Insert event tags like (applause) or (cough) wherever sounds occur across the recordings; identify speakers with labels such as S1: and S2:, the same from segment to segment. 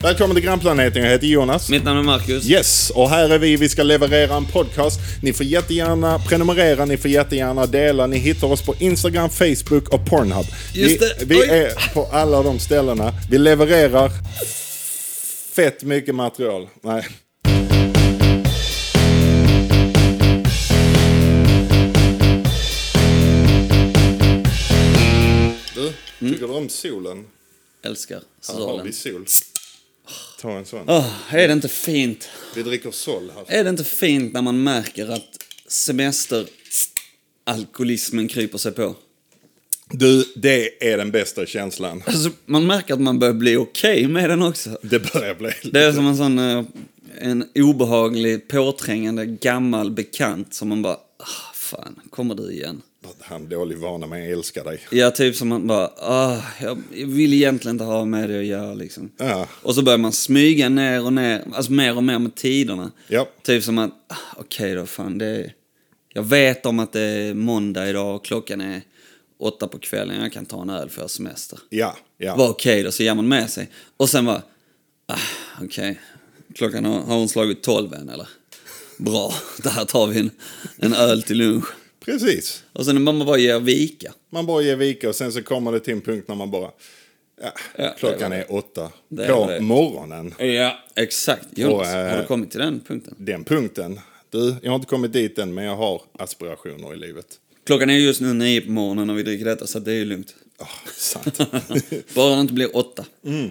S1: Välkommen till grannplaneten, jag heter Jonas.
S2: Mitt namn är Marcus.
S1: Yes, och här är vi. Vi ska leverera en podcast. Ni får jättegärna prenumerera, ni får jättegärna dela. Ni hittar oss på Instagram, Facebook och Pornhub.
S2: Just
S1: vi,
S2: det.
S1: vi
S2: Oj.
S1: är på alla de ställena. Vi levererar fett mycket material. Nej. Du, tycker du om solen?
S2: Älskar
S1: Här har vi
S2: solen. Ah.
S1: sol. Ta en sån.
S2: Åh, är det inte fint?
S1: Vi dricker sol här.
S2: Är det inte fint när man märker att semesteralkoholismen kryper sig på?
S1: Du, det är den bästa känslan.
S2: Alltså, man märker att man börjar bli okej med den också.
S1: Det börjar bli... (laughs)
S2: Det är som en sån eh, en obehaglig, påträngande gammal bekant som man bara... Ah, fan, kommer du igen?
S1: Han dålig vana med jag älskar dig.
S2: Ja, typ som man bara... Ah, jag vill egentligen inte ha med det att göra liksom.
S1: Ja.
S2: Och så börjar man smyga ner och ner, alltså mer och mer med tiderna.
S1: Ja.
S2: Typ som att, ah, okej då fan, det är, jag vet om att det är måndag idag och klockan är åtta på kvällen, jag kan ta en öl för jag har semester.
S1: Ja, ja.
S2: Var okej då, så ger man med sig. Och sen var ah, okej, klockan har, har hon slagit tolv än eller? Bra, (laughs) där tar vi en, en öl till lunch.
S1: Precis.
S2: Och sen när man bara ger vika.
S1: Man bara ger vika och sen så kommer det till en punkt när man bara... Ja,
S2: Ja, det
S1: klockan
S2: var
S1: är åtta
S2: Det
S1: på
S2: var det.
S1: morgonen.
S2: Ja, exakt. Jonas,
S1: eh,
S2: har du kommit till den punkten?
S1: Den punkten. Du, jag har inte kommit dit än, men jag har aspirationer i livet.
S2: Klockan är just nu nio på morgonen och vi dricker detta, så det är ju lugnt. (laughs)
S1: Oh, sant.
S2: Bara det inte blir åtta.
S1: (laughs)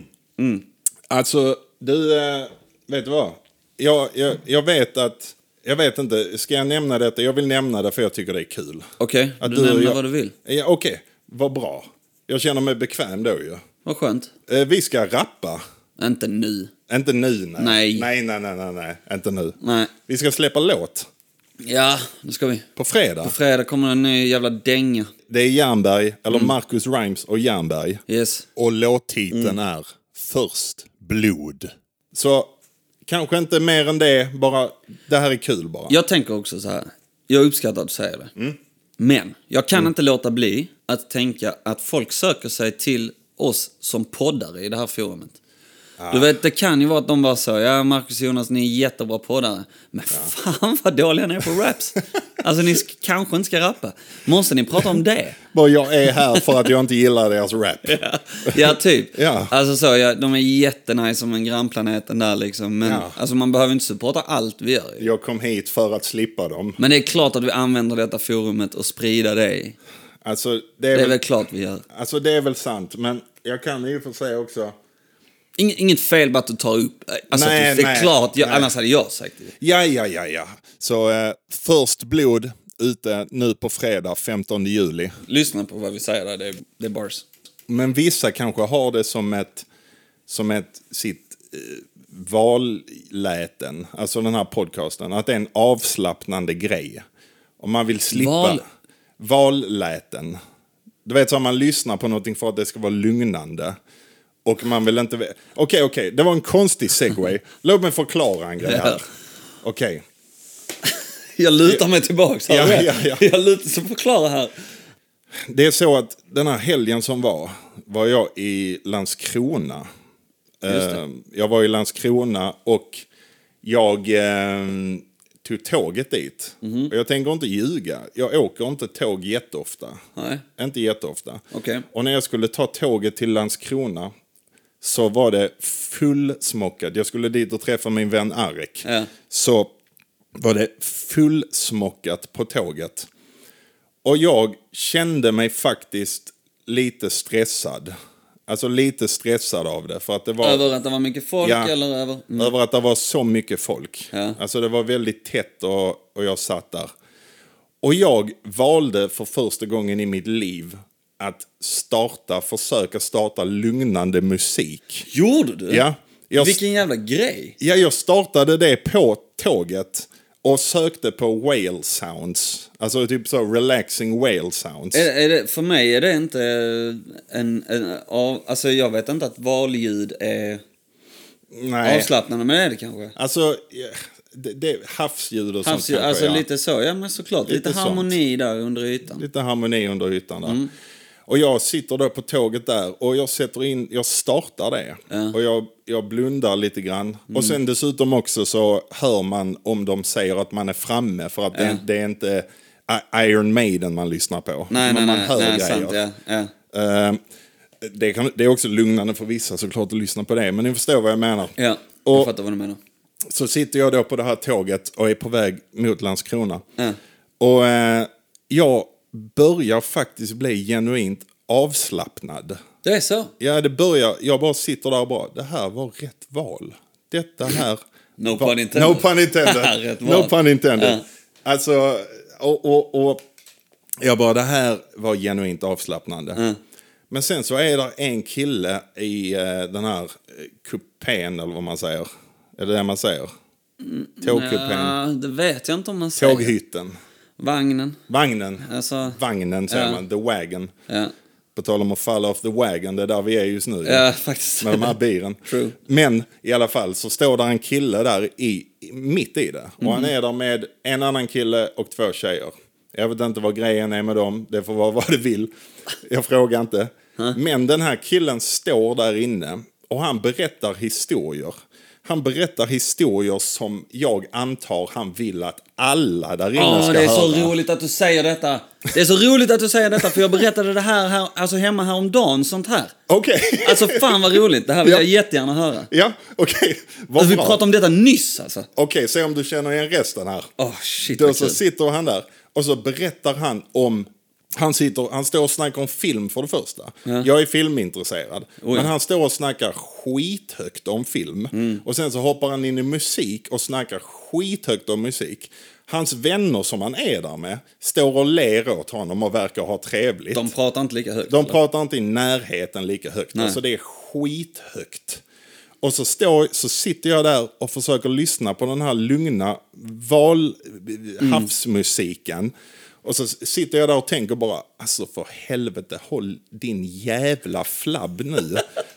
S1: alltså, du, eh, vet du vad? Jag, jag, jag vet att... Jag vet inte, ska jag nämna detta? Jag vill nämna det för jag tycker det är kul.
S2: Okej,
S1: Att
S2: du,
S1: och
S2: nämner
S1: jag-
S2: vad du vill.
S1: Ja, Okej, vad bra. Jag känner mig bekväm då ju.
S2: Vad skönt.
S1: Eh, Vi ska rappa.
S2: Inte nu.
S1: Inte nu, nej.
S2: Nej.
S1: Nej, nej, nej, nej, nej. Inte nu.
S2: Nej.
S1: Vi ska släppa låt
S2: Ja, nu ska vi.
S1: på fredag.
S2: På fredag kommer en ny jävla dänga.
S1: Det är Jernberg, eller
S2: Mm.
S1: Marcus Rhymes och Jernberg.
S2: Yes.
S1: Och låttiteln
S2: Mm.
S1: är Först blod. Så kanske inte mer än det, bara det här är kul bara.
S2: Jag tänker också så här. Jag uppskattar att du säger det.
S1: Mm.
S2: Men jag kan inte låta bli att tänka att folk söker sig till oss som poddare i det här forumet.
S1: Ah.
S2: Du vet, det kan ju vara att de bara så, ja Marcus och Jonas, ni är jättebra poddare. Men fan vad dåliga ni är på
S1: (laughs)
S2: raps. alltså ni sk- kanske inte ska rappa. Måste ni prata om det?
S1: Bara jag är här för att jag inte
S2: (laughs)
S1: gillar deras rap.
S2: Ja, typ.
S1: Ja.
S2: Alltså så, ja, de är jättenice som en grannplaneten där liksom. Men
S1: Ja.
S2: alltså, man behöver inte supporta allt vi gör. ju.
S1: Jag kom hit för att slippa dem.
S2: Men det är klart att vi använder detta forumet och sprida det.
S1: Alltså, det är,
S2: Det är
S1: väl,
S2: väl klart vi gör.
S1: alltså, det är väl sant, men jag kan ju för sig också...
S2: Inget, inget fel med att du tar upp alltså,
S1: Nej,
S2: att du, Det är
S1: nej,
S2: klart, jag,
S1: nej.
S2: annars hade jag sagt det.
S1: Ja, ja, ja, ja. Så eh, först blod ute nu på fredag 15 juli.
S2: Lyssna på vad vi säger där, det är, det är bars.
S1: Men vissa kanske har det som ett, som ett sitt eh, valläten, alltså den här podcasten, att det är en avslappnande grej. Om man vill slippa
S2: Val-
S1: valläten. Du vet, så om man lyssnar på någonting för att det ska vara lugnande. Och man vill inte... Okej, okej, det var en konstig
S2: (laughs)
S1: segway. Låt mig förklara en grej
S2: Ja.
S1: här. Okej.
S2: Jag lutar mig tillbaks. hör
S1: Ja,
S2: du det?
S1: ja, ja.
S2: Jag lutar, så förklara här.
S1: Det är så att den här helgen som var, var jag i Landskrona. Eh, jag var i Landskrona och jag eh, tog tåget dit.
S2: Mhm.
S1: Och jag tänker inte ljuga, jag åker inte tåg jätteofta.
S2: Nej.
S1: Inte jätteofta.
S2: Okej.
S1: Och när jag skulle ta tåget till Landskrona så var det fullsmockat. Jag skulle dit och träffa min vän Arek.
S2: Ja.
S1: Så var det fullsmockat på tåget. Och jag kände mig faktiskt lite stressad. Alltså lite stressad av det. För att det var
S2: Över att det var mycket folk
S1: Ja.
S2: eller över... Mm.
S1: över att det var så mycket folk.
S2: Ja.
S1: Alltså det var väldigt tätt och, och jag satt där. Och jag valde för första gången i mitt liv att starta, försöka starta lugnande musik.
S2: Gjorde du?
S1: Ja, jag,
S2: Vilken jävla grej.
S1: ja, jag startade det på tåget och sökte på whale sounds. Alltså typ så relaxing whale sounds.
S2: Är, är det, för mig är det inte en... en av, alltså jag vet inte att valljud är
S1: Nej.
S2: avslappnande, men det är det kanske.
S1: Alltså, ja, det, det, havsljud och
S2: Alltså,
S1: sånt kanske,
S2: alltså
S1: ja.
S2: lite så, ja men såklart. Lite,
S1: Lite sånt.
S2: harmoni där under ytan. Mm.
S1: Lite harmoni under ytan där. Och jag sitter då på tåget där och jag sätter in, jag startar det. Och jag, jag blundar lite grann.
S2: Mm.
S1: Och sen dessutom också så hör man om de säger att man är framme för att det, det är inte I- Iron Maiden man lyssnar på.
S2: Nej,
S1: Men
S2: nej,
S1: man
S2: nej.
S1: hör
S2: nej
S1: grejer.
S2: sant, ja, ja.
S1: Eh, det, kan, det är också lugnande för vissa såklart att lyssna på det, men ni förstår vad jag menar.
S2: ja. Jag
S1: Och-
S2: fattar vad du menar.
S1: Så sitter jag då på det här tåget och är på väg mot Landskrona.
S2: Ja.
S1: Och eh, jag börjar faktiskt bli genuint avslappnad.
S2: Det är så.
S1: Ja, det börjar, jag bara sitter där och bara, det här var rätt val. Detta här...
S2: (clears throat) No
S1: var,
S2: pun intended.
S1: No pun
S2: (laughs)
S1: intended.
S2: Rätt
S1: no
S2: val.
S1: pun intended.
S2: Ja.
S1: Alltså, och, och, och jag bara, det här var genuint avslappnande. Men sen så är det en kille i eh, den här eh, kupén, eller vad man säger. Är det det man säger? Tågkupén.
S2: Mm, Ja, det vet jag inte om man säger.
S1: Tåghytten.
S2: Vagnen.
S1: Vagnen.
S2: Alltså,
S1: Vagnen säger
S2: Ja.
S1: man. The wagon.
S2: ja.
S1: På tal om att falla off the wagon, det är där vi är just nu.
S2: ja,
S1: (laughs)
S2: faktiskt.
S1: Med de här biren.
S2: True.
S1: Men i alla fall så står där en kille där i, i- mitt i det. Och
S2: Mhm.
S1: han är där med en annan kille och två tjejer. Jag vet inte vad grejen är med dem. Det får vara (laughs) vad det vill. Jag frågar inte. Men den här killen står där inne och han berättar historier. Han berättar historier som jag antar han vill att alla där inne
S2: Ja,
S1: ska
S2: det är
S1: höra.
S2: så roligt att du säger detta. Det är så roligt att du säger detta, för jag berättade det här, här alltså hemma häromdagen, sånt här.
S1: Okej.
S2: Alltså fan vad roligt, det här vill
S1: Ja.
S2: jag jättegärna höra.
S1: (laughs) Ja, okej. Vad
S2: Alltså, vi
S1: bra.
S2: pratade om detta nyss alltså.
S1: Okej, se om du känner igen resten här.
S2: Åh shit
S1: Då
S2: vad
S1: så
S2: kul.
S1: sitter han där och så berättar han om... Han, sitter, han står och snackar om film för det första. Jag är filmintresserad. Men han står och snackar skithögt om film.
S2: Mm.
S1: Och sen så hoppar han in i musik och snackar skithögt om musik. Hans vänner som han är där med står och ler åt honom och verkar ha trevligt.
S2: De pratar inte lika högt.
S1: De
S2: eller?
S1: pratar inte i närheten lika högt. Alltså det är skithögt. Och så, står, så sitter jag där och försöker lyssna på den här lugna val,
S2: Mm.
S1: havsmusiken. Och så sitter jag där och tänker bara, alltså för helvete, håll din jävla flabb
S2: (laughs)
S1: nu.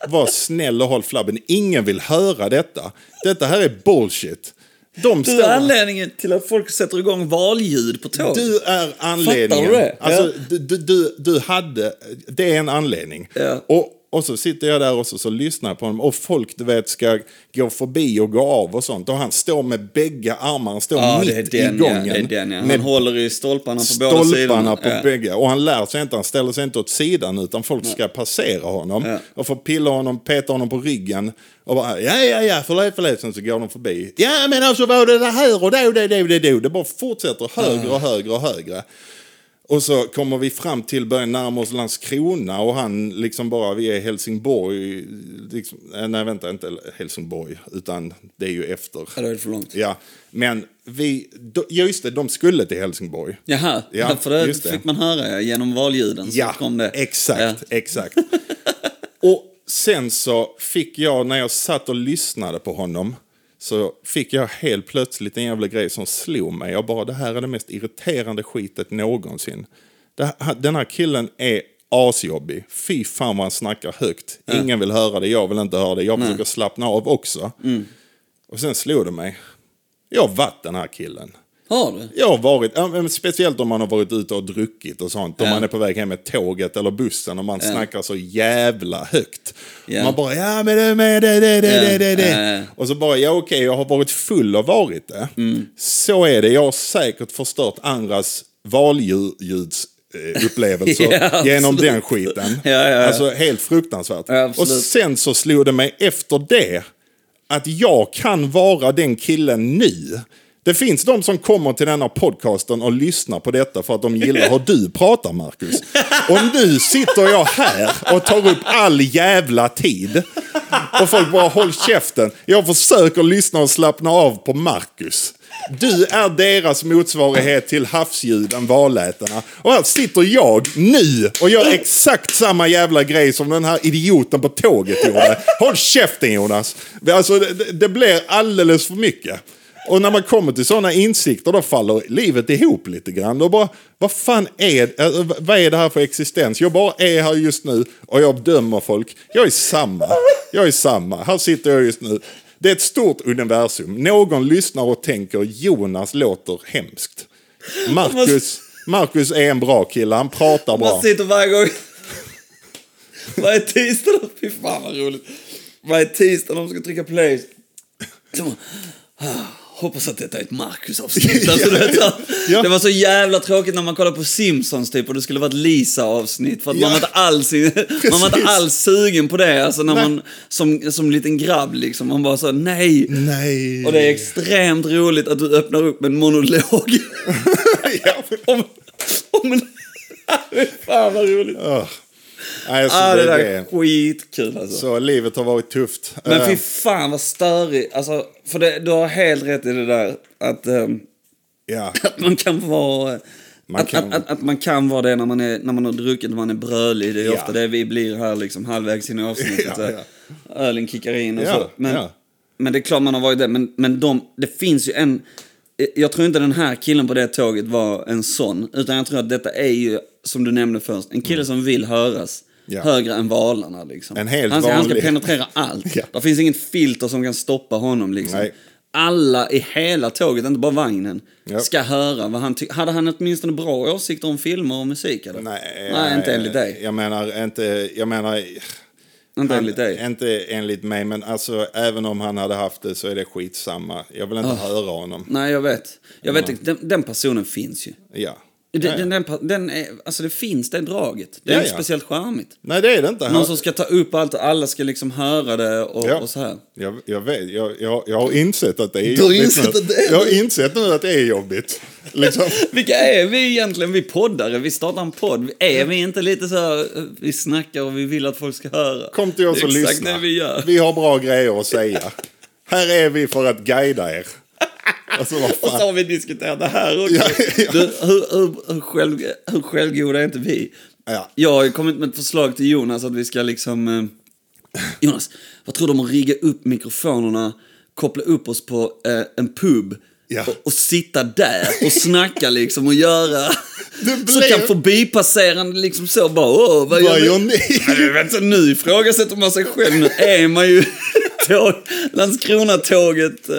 S1: Var snäll och håll flabben. Ingen vill höra detta. Detta här är bullshit. De
S2: Du är anledningen till att folk sätter igång valljud på tåg.
S1: du är anledningen.
S2: Fattar du det?
S1: Alltså,
S2: Ja.
S1: du, du, du, du hade... Det är en anledning.
S2: Ja.
S1: Och, och så sitter jag där och så, så lyssnar jag på honom. Och folk, du vet, ska gå förbi och gå av och sånt. Och han står med bägge armarna, han står
S2: ja,
S1: mitt
S2: det är den
S1: i
S2: ja.
S1: gången.
S2: Det är den ja. Han
S1: Med
S2: håller i stolparna på båda sidorna.
S1: stolparna på
S2: ja.
S1: bägge. Och han lär sig inte, han ställer sig inte åt sidan utan folk ska passera honom.
S2: Ja.
S1: Och får pilla honom, peta honom på ryggen. Och bara ja, ja, ja, förlåt, förlåt. Sen så går de förbi. Ja, men alltså var det det här och då, det, det, det, det. Det bara fortsätter högre och högre och högre. Och så kommer vi fram till, börjar närma oss Landskrona och han liksom bara, vi är i Helsingborg. Liksom, eh, nej, vänta, inte Helsingborg, utan det är ju efter.
S2: Ja, då är det för långt.
S1: Ja, men vi, då- ja, just det, de skulle till Helsingborg.
S2: Jaha,
S1: Ja,
S2: ja, (laughs) för det
S1: just det.
S2: fick man höra ja, genom valljuden. Så
S1: Ja,
S2: kom det.
S1: exakt, exakt. (laughs) och sen så fick jag, när jag satt och lyssnade på honom, så fick jag helt plötsligt en jävla grej som slog mig. Jag bara, det här är det mest irriterande skitet någonsin. Det här, den här killen är asjobbig. Fy fan vad han snackar högt. Ingen vill höra det, jag vill inte höra det. Jag försöker slappna av också. Och sen slog det mig. Jag har varit den här killen.
S2: Ja. Har du?
S1: Jag har varit, ja, men speciellt om man har varit ute och druckit och sånt. Om
S2: Ja.
S1: man är på väg hem med tåget eller bussen och man snackar så jävla högt.
S2: Ja.
S1: Man bara, ja men det, men det, det, det,
S2: Ja.
S1: det, det, det.
S2: Ja, ja.
S1: Och så bara, ja okej, jag har varit full och varit det.
S2: Mm.
S1: Så är det, jag har säkert förstört andras valjudsupplevelser
S2: (laughs) Ja, absolut.
S1: genom den skiten.
S2: (laughs) Ja, ja, ja.
S1: Alltså helt fruktansvärt.
S2: Ja,
S1: och
S2: absolut.
S1: sen så slog det mig efter det att jag kan vara den killen nu. Det finns de som kommer till den här podcasten och lyssnar på detta för att de gillar hur du pratar,
S2: (laughs)
S1: Marcus. Och nu sitter jag här och tar upp all jävla tid. Och folk bara håll käften. Jag försöker lyssna och slappna av på Marcus. Du är deras motsvarighet till havsljuden, valätarna. Och här sitter jag nu och gör exakt samma jävla grej som den här idioten på tåget gjorde. Håll käften Jonas! Alltså, det, det- det blir alldeles för mycket. Och när man kommer till sådana insikter då faller livet ihop lite grann. Då bara, vad fan är, äh, vad är det här för existens? Jag bara är här just nu och jag dömer folk. Jag är samma. Jag är samma. Här sitter jag just nu. Det är ett stort universum. Någon lyssnar och tänker Jonas låter hemskt. Marcus, Marcus är en bra kille, han pratar bra.
S2: Man sitter varje gång (laughs) Varje tisdag, då- fy fan vad roligt. Varje tisdag när de ska trycka play. Så, bara, "Ah, hoppas att detta är
S1: (laughs)
S2: ett Marcus-avsnitt. Alltså, du vet, så här,
S1: Ja.
S2: Det var så jävla tråkigt när man kollade på Simpsons typ och det skulle vara ett Lisa-avsnitt. För att
S1: Ja.
S2: man, var inte alls, (laughs) man var inte alls sugen på det. Alltså när man som, som liten grabb liksom. Man bara så här, nej.
S1: Nej.
S2: Och det är extremt roligt att du öppnar upp med en monolog.
S1: (laughs) ja.
S2: om, om en... Fan vad roligt.
S1: Åh. Nej, så
S2: Ah, det
S1: Alltså, det,
S2: där
S1: det
S2: är
S1: är
S2: skitkul alltså.
S1: Så livet har varit tufft.
S2: Men
S1: Eh,
S2: fy fan vad störig. Alltså, för det, du har helt rätt i det där att, ehm,
S1: ja.
S2: att man kan vara...
S1: Man
S2: att,
S1: kan-
S2: Att, att, att man kan vara det när man, är, när man har druckit och man är brölig. Det är
S1: Ja.
S2: ofta det vi blir här liksom halvvägs in i avsnittet.
S1: Ja,
S2: så här. Ölen kickar in och
S1: Ja,
S2: så. Men,
S1: ja.
S2: men det är klart man har varit det. Men, men de, det finns ju en... Jag tror inte den här killen på det tåget var en sån. Utan jag tror att detta är ju, som du nämnde först, en kille som vill höras.
S1: Mm. Ja.
S2: Högre än valarna liksom.
S1: En helt
S2: han, ska, han ska
S1: vanlig.
S2: penetrera
S1: (laughs)
S2: allt.
S1: Ja.
S2: Det finns inget filter som kan stoppa honom liksom.
S1: Nej.
S2: Alla i hela tåget, inte bara vagnen,
S1: Ja.
S2: ska höra vad han tycker. Hade han åtminstone bra åsikter om filmer och musik? Eller?
S1: Nej, eh,
S2: Nej, inte enligt dig.
S1: Jag menar, inte, jag menar...
S2: Inte enligt dig.
S1: Inte enligt mig, men alltså även om han hade haft det så är det skitsamma. Jag
S2: Ah.
S1: vill inte höra honom.
S2: Nej, jag vet. Jag vet inte, den, den personen finns ju.
S1: Ja.
S2: Den,
S1: ja, ja.
S2: den, den, pa- den är, alltså det finns, det draget. Det är
S1: Ja,
S2: inte
S1: ja.
S2: speciellt charmigt.
S1: Nej, det är det inte.
S2: Någon
S1: Han-
S2: som ska ta upp allt och alla ska liksom höra det och,
S1: Ja.
S2: och så här.
S1: Jag, jag, vet, jag, jag, jag har insett att det är
S2: Du har
S1: jobbigt
S2: insett
S1: nu.
S2: att det är-
S1: Jag har insett nu att det är jobbigt. Liksom.
S2: Vilka är vi egentligen? Vi poddare, vi startar en podd. Är vi inte lite så här, eh, vi snackar och vi vill att folk ska höra?
S1: Kom till oss och
S2: Det är
S1: lyssna.
S2: Exakt det vi gör.
S1: har bra grejer att säga. Här är vi för att guida er. Alltså, vad
S2: Och
S1: fan.
S2: så har vi diskuterat det här också.
S1: Ja, ja.
S2: Du, hur, hur, hur, själv, hur självgoda är inte vi?
S1: Ja.
S2: Jag har ju kommit med ett förslag till Jonas att vi ska liksom... Eh, Jonas, vad tror du om att rigga upp mikrofonerna, koppla upp oss på eh, en pub
S1: Ja.
S2: och, och sitta där och snacka liksom och göra...
S1: (laughs) Det
S2: Så
S1: blir-
S2: kan förbipasserande liksom så bara, åh, vad
S1: Vad
S2: gör
S1: gör
S2: ni?
S1: ni?
S2: Men du vet, så nu ifrågasätter man sig själv. Nu är man ju (laughs) tåg, Landskrona-tåget, eh,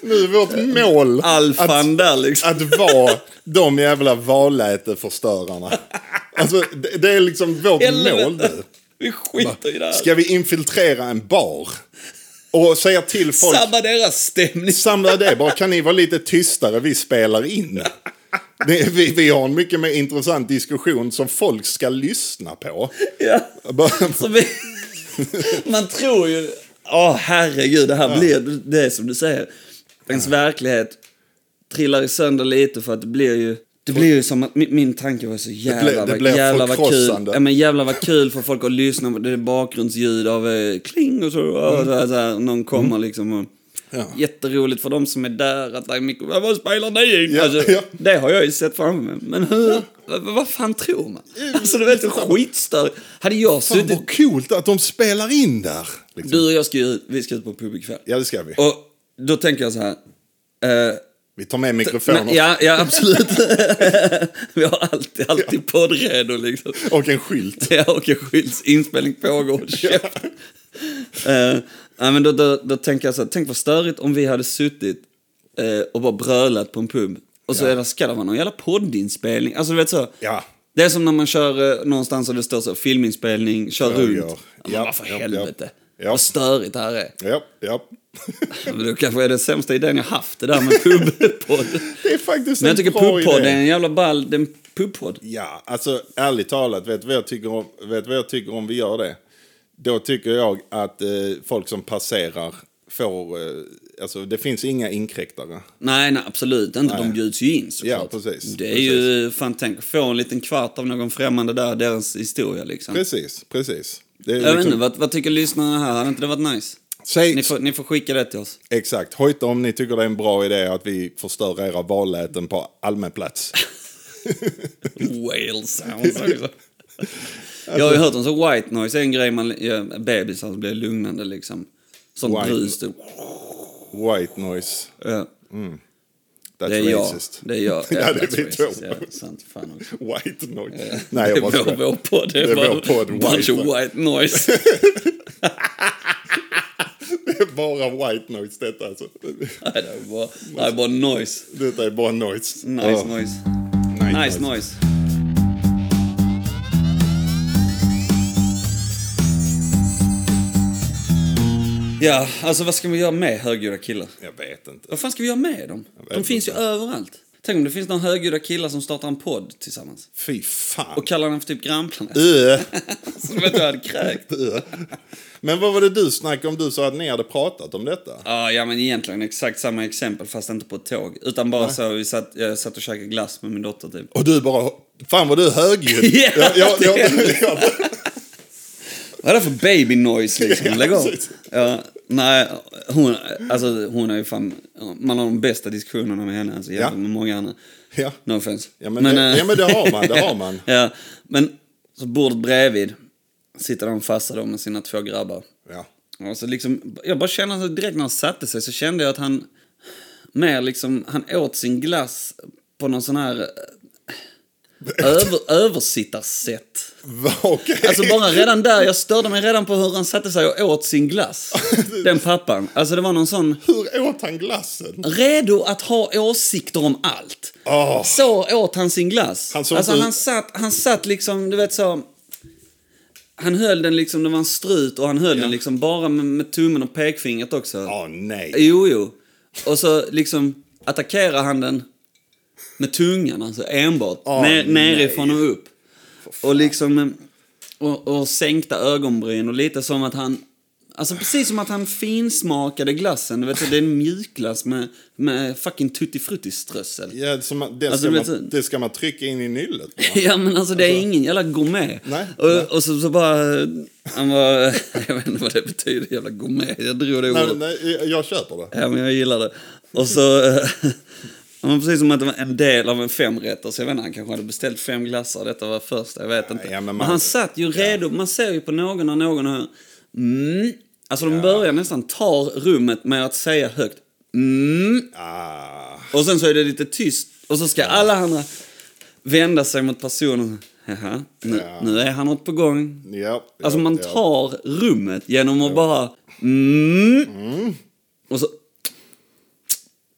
S1: Nu är vårt mål
S2: alfan där liksom.
S1: att vara de jävla valläteförstörarna. Alltså, det, det är liksom vårt mål
S2: Helvete.
S1: nu.
S2: Vi skiter i det här.
S1: Ska vi infiltrera en bar? Och säga till folk,
S2: Sabba deras stämning.
S1: samla det bara, kan ni vara lite tystare, vi spelar in. Det, vi, vi har en mycket mer intressant diskussion som folk ska lyssna på.
S2: Ja.
S1: Bara-
S2: (laughs) Så vi... Man tror ju... Åh, herregud, det här blir... Det är som du säger. Ens verklighet trillar i sönder lite för att det blir ju... Det blir ju som att min, min tanke var så jävla,
S1: blir- det
S2: vad-
S1: blir
S2: jävla vad kul.
S1: förkrossande.
S2: Ja, men jävla vad kul för folk att lyssna på det är bakgrundsljud av eh, kling och så. Och så, här, så här, någon kommer liksom och...
S1: Mm. Ja.
S2: Jätteroligt för de som är där att det är mycket, vad spelar ni? in?"
S1: Ja,
S2: alltså,
S1: ja.
S2: Det har jag ju sett framför mig. Men hur, vad, vad fan tror man? Alltså du vet, skitstör. Hade jag
S1: Fan
S2: suttit
S1: vad coolt att de spelar in där. Liksom.
S2: du och jag ska ju ut, vi ska ut på pub ikväll.
S1: Ja, det ska vi.
S2: Och då tänker jag så här. eh,
S1: Vi tar med mikrofoner
S2: men, ja, ja, absolut. (laughs) vi har alltid, alltid podd redo liksom.
S1: och en skylt.
S2: Ja, och en skylts inspelning
S1: (laughs)
S2: pågår. Käften. Eh, nej, men då, då, då tänker jag så här, tänk vad störigt om vi hade suttit eh, och bara brölat på en pub. Och så
S1: Ja.
S2: är det, ska det vara någon jävla poddinspelning. Alltså du vet så.
S1: Ja.
S2: Det är som när man kör eh, någonstans och det står så filminspelning, kör
S1: Frågor.
S2: runt. Ja, men
S1: Ja,
S2: vad för
S1: ja, ja.
S2: helvete.
S1: Ja.
S2: Vad störigt det här är.
S1: Ja, ja. (laughs)
S2: Men då kanske är det sämsta idén jag haft, det där
S1: (laughs)
S2: med pubpodd.
S1: Det är faktiskt
S2: Men jag
S1: en
S2: tycker
S1: bra
S2: pubpodd är
S1: idé.
S2: en jävla ball, det är en pubpodd.
S1: Ja, alltså ärligt talat, vet du vad jag tycker om, vet du vad jag tycker om vi gör det? Då tycker jag att eh, folk som passerar får, eh, alltså det finns inga inkräktare.
S2: Nej, nej, absolut inte. De bjuds ju in såklart.
S1: Ja, precis.
S2: Det är
S1: Precis.
S2: ju, fan tänk att få en liten kvart av någon främmande där, deras historia liksom.
S1: Precis, precis. Det är
S2: Jag vet
S1: liksom-
S2: inte, vad, vad tycker lyssnarna här? Hade inte det varit nice?
S1: Säg,
S2: Ni får, ni får skicka det till oss.
S1: exakt, hojta om ni tycker det är en bra idé att vi förstör era valläten på allmän plats.
S2: Whale sounds också.
S1: (laughs)
S2: Jag har ju hört om så white noise är en grej man, ja, bebisar blir lugnande liksom. Sånt
S1: White-
S2: brus typ.
S1: White noise,
S2: Ja,
S1: that's
S2: det är jag.
S1: racist.
S2: Det är jag.
S1: (laughs) Ja, det
S2: that's
S1: är vi två.
S2: racist. Ja, sant. Fan också.
S1: White noise. Nej, jag
S2: Eh, det
S1: bara
S2: är vår,
S1: skojar.
S2: vår podd. Det
S1: Det är
S2: är bara
S1: vår podd,
S2: bunch
S1: white
S2: of
S1: noise.
S2: white noise. (laughs)
S1: Det är (laughs) bara white noise detta alltså.
S2: Nej, det är bara, det är bara noise.
S1: Detta är bara noise. Oh,
S2: Nice
S1: Ja.
S2: noise. Nice noise. Ja, alltså vad ska man göra med högljudda killar?
S1: Jag vet inte.
S2: Vad fan ska vi göra med dem? De finns ju överallt. Tänk om det finns några högljudda killar som startar en podd tillsammans.
S1: Fy fan.
S2: Och kallar den för typ Grannplanet.
S1: Ö.
S2: (laughs) Som att du hade kräkt.
S1: Ö. Men vad var det du snackade om? Du sa att ni hade pratat om detta.
S2: Ja, ja, men egentligen exakt samma exempel fast inte på ett tåg. Utan bara så, vi satt, jag satt och käkade glass med min dotter typ.
S1: Och du bara, fan vad du är högljudd.
S2: (laughs) Ja,
S1: jag, jag, jag, jag,
S2: Vad är det för
S1: (laughs)
S2: baby noise liksom?
S1: Ja,
S2: Lägg av.
S1: precis.
S2: Ja, nej, hon, alltså, hon är ju fan... Man har de bästa diskussionerna med henne alltså, jämfört
S1: Ja.
S2: med många andra.
S1: Ja.
S2: No offense.
S1: Ja, men det-
S2: eh,
S1: ja, men det har man, det har man.
S2: (laughs) ja, men så bordet bredvid sitter de fasta då med sina två grabbar.
S1: ja.
S2: Och så liksom, jag bara känner att direkt när han satte sig så kände jag att han mer liksom, han åt sin glass på någon sån här
S1: (laughs)
S2: eh, över, översittarsätt.
S1: Va, Okej.
S2: Alltså bara redan där, jag störde mig redan på hur han satte sig och åt
S1: (laughs)
S2: sin glass. Den pappan. Alltså det var någon sån...
S1: Hur åt han glassen?
S2: Redo att ha åsikter om allt.
S1: Åh.
S2: Så åt han sin glass.
S1: Ah. Han såg
S2: alltså
S1: inte ut-
S2: han satt, han satt liksom, du vet så... Han höll den liksom, det var en strut och han höll den liksom bara med, med tummen och pekfingret också.
S1: Åh nej.
S2: Jo, jo. Och så liksom attackerar han den med tungan, alltså enbart.
S1: Åh,
S2: ner,
S1: Ah, nej.
S2: nerifrån och upp. Och liksom... eh, Och, och sänkta ögonbryn och lite som att han... Alltså precis som att han finsmakade glassen. Du vet, det är en mjukglass med, med fucking tuttifruttiströssel.
S1: Ja, som, man- det, ska
S2: Alltså, du vet så-
S1: man, det ska man trycka in i nyllet. va?
S2: Ja men alltså det är ingen jävla gourmet.
S1: Nej,
S2: och,
S1: nej.
S2: och så, så bara... Han var... (laughs) Jag vet inte vad det betyder, jävla gourmet. Jag drog det
S1: Nej,
S2: ordet.
S1: nej, jag köper det.
S2: Ja, men jag gillar det. Och så... (laughs) eh, ja, men precis som att det var en del av en femrätter. Så jag vet inte, han kanske hade beställt fem glassar. Detta var första, jag vet inte.
S1: Ja, men
S2: men,
S1: man-
S2: han satt ju redo. Man ser ju på någon när någon hör... Mm. Alltså de börjar nästan ta rummet med att säga högt. Mm.
S1: Ah.
S2: Och sen så är det lite tyst. Och så ska alla andra vända sig mot personen. Jaha, nu,
S1: Ja.
S2: nu är han något på gång.
S1: Ja,
S2: Alltså
S1: ja,
S2: man
S1: ja.
S2: tar rummet genom att bara... Mm, Och så...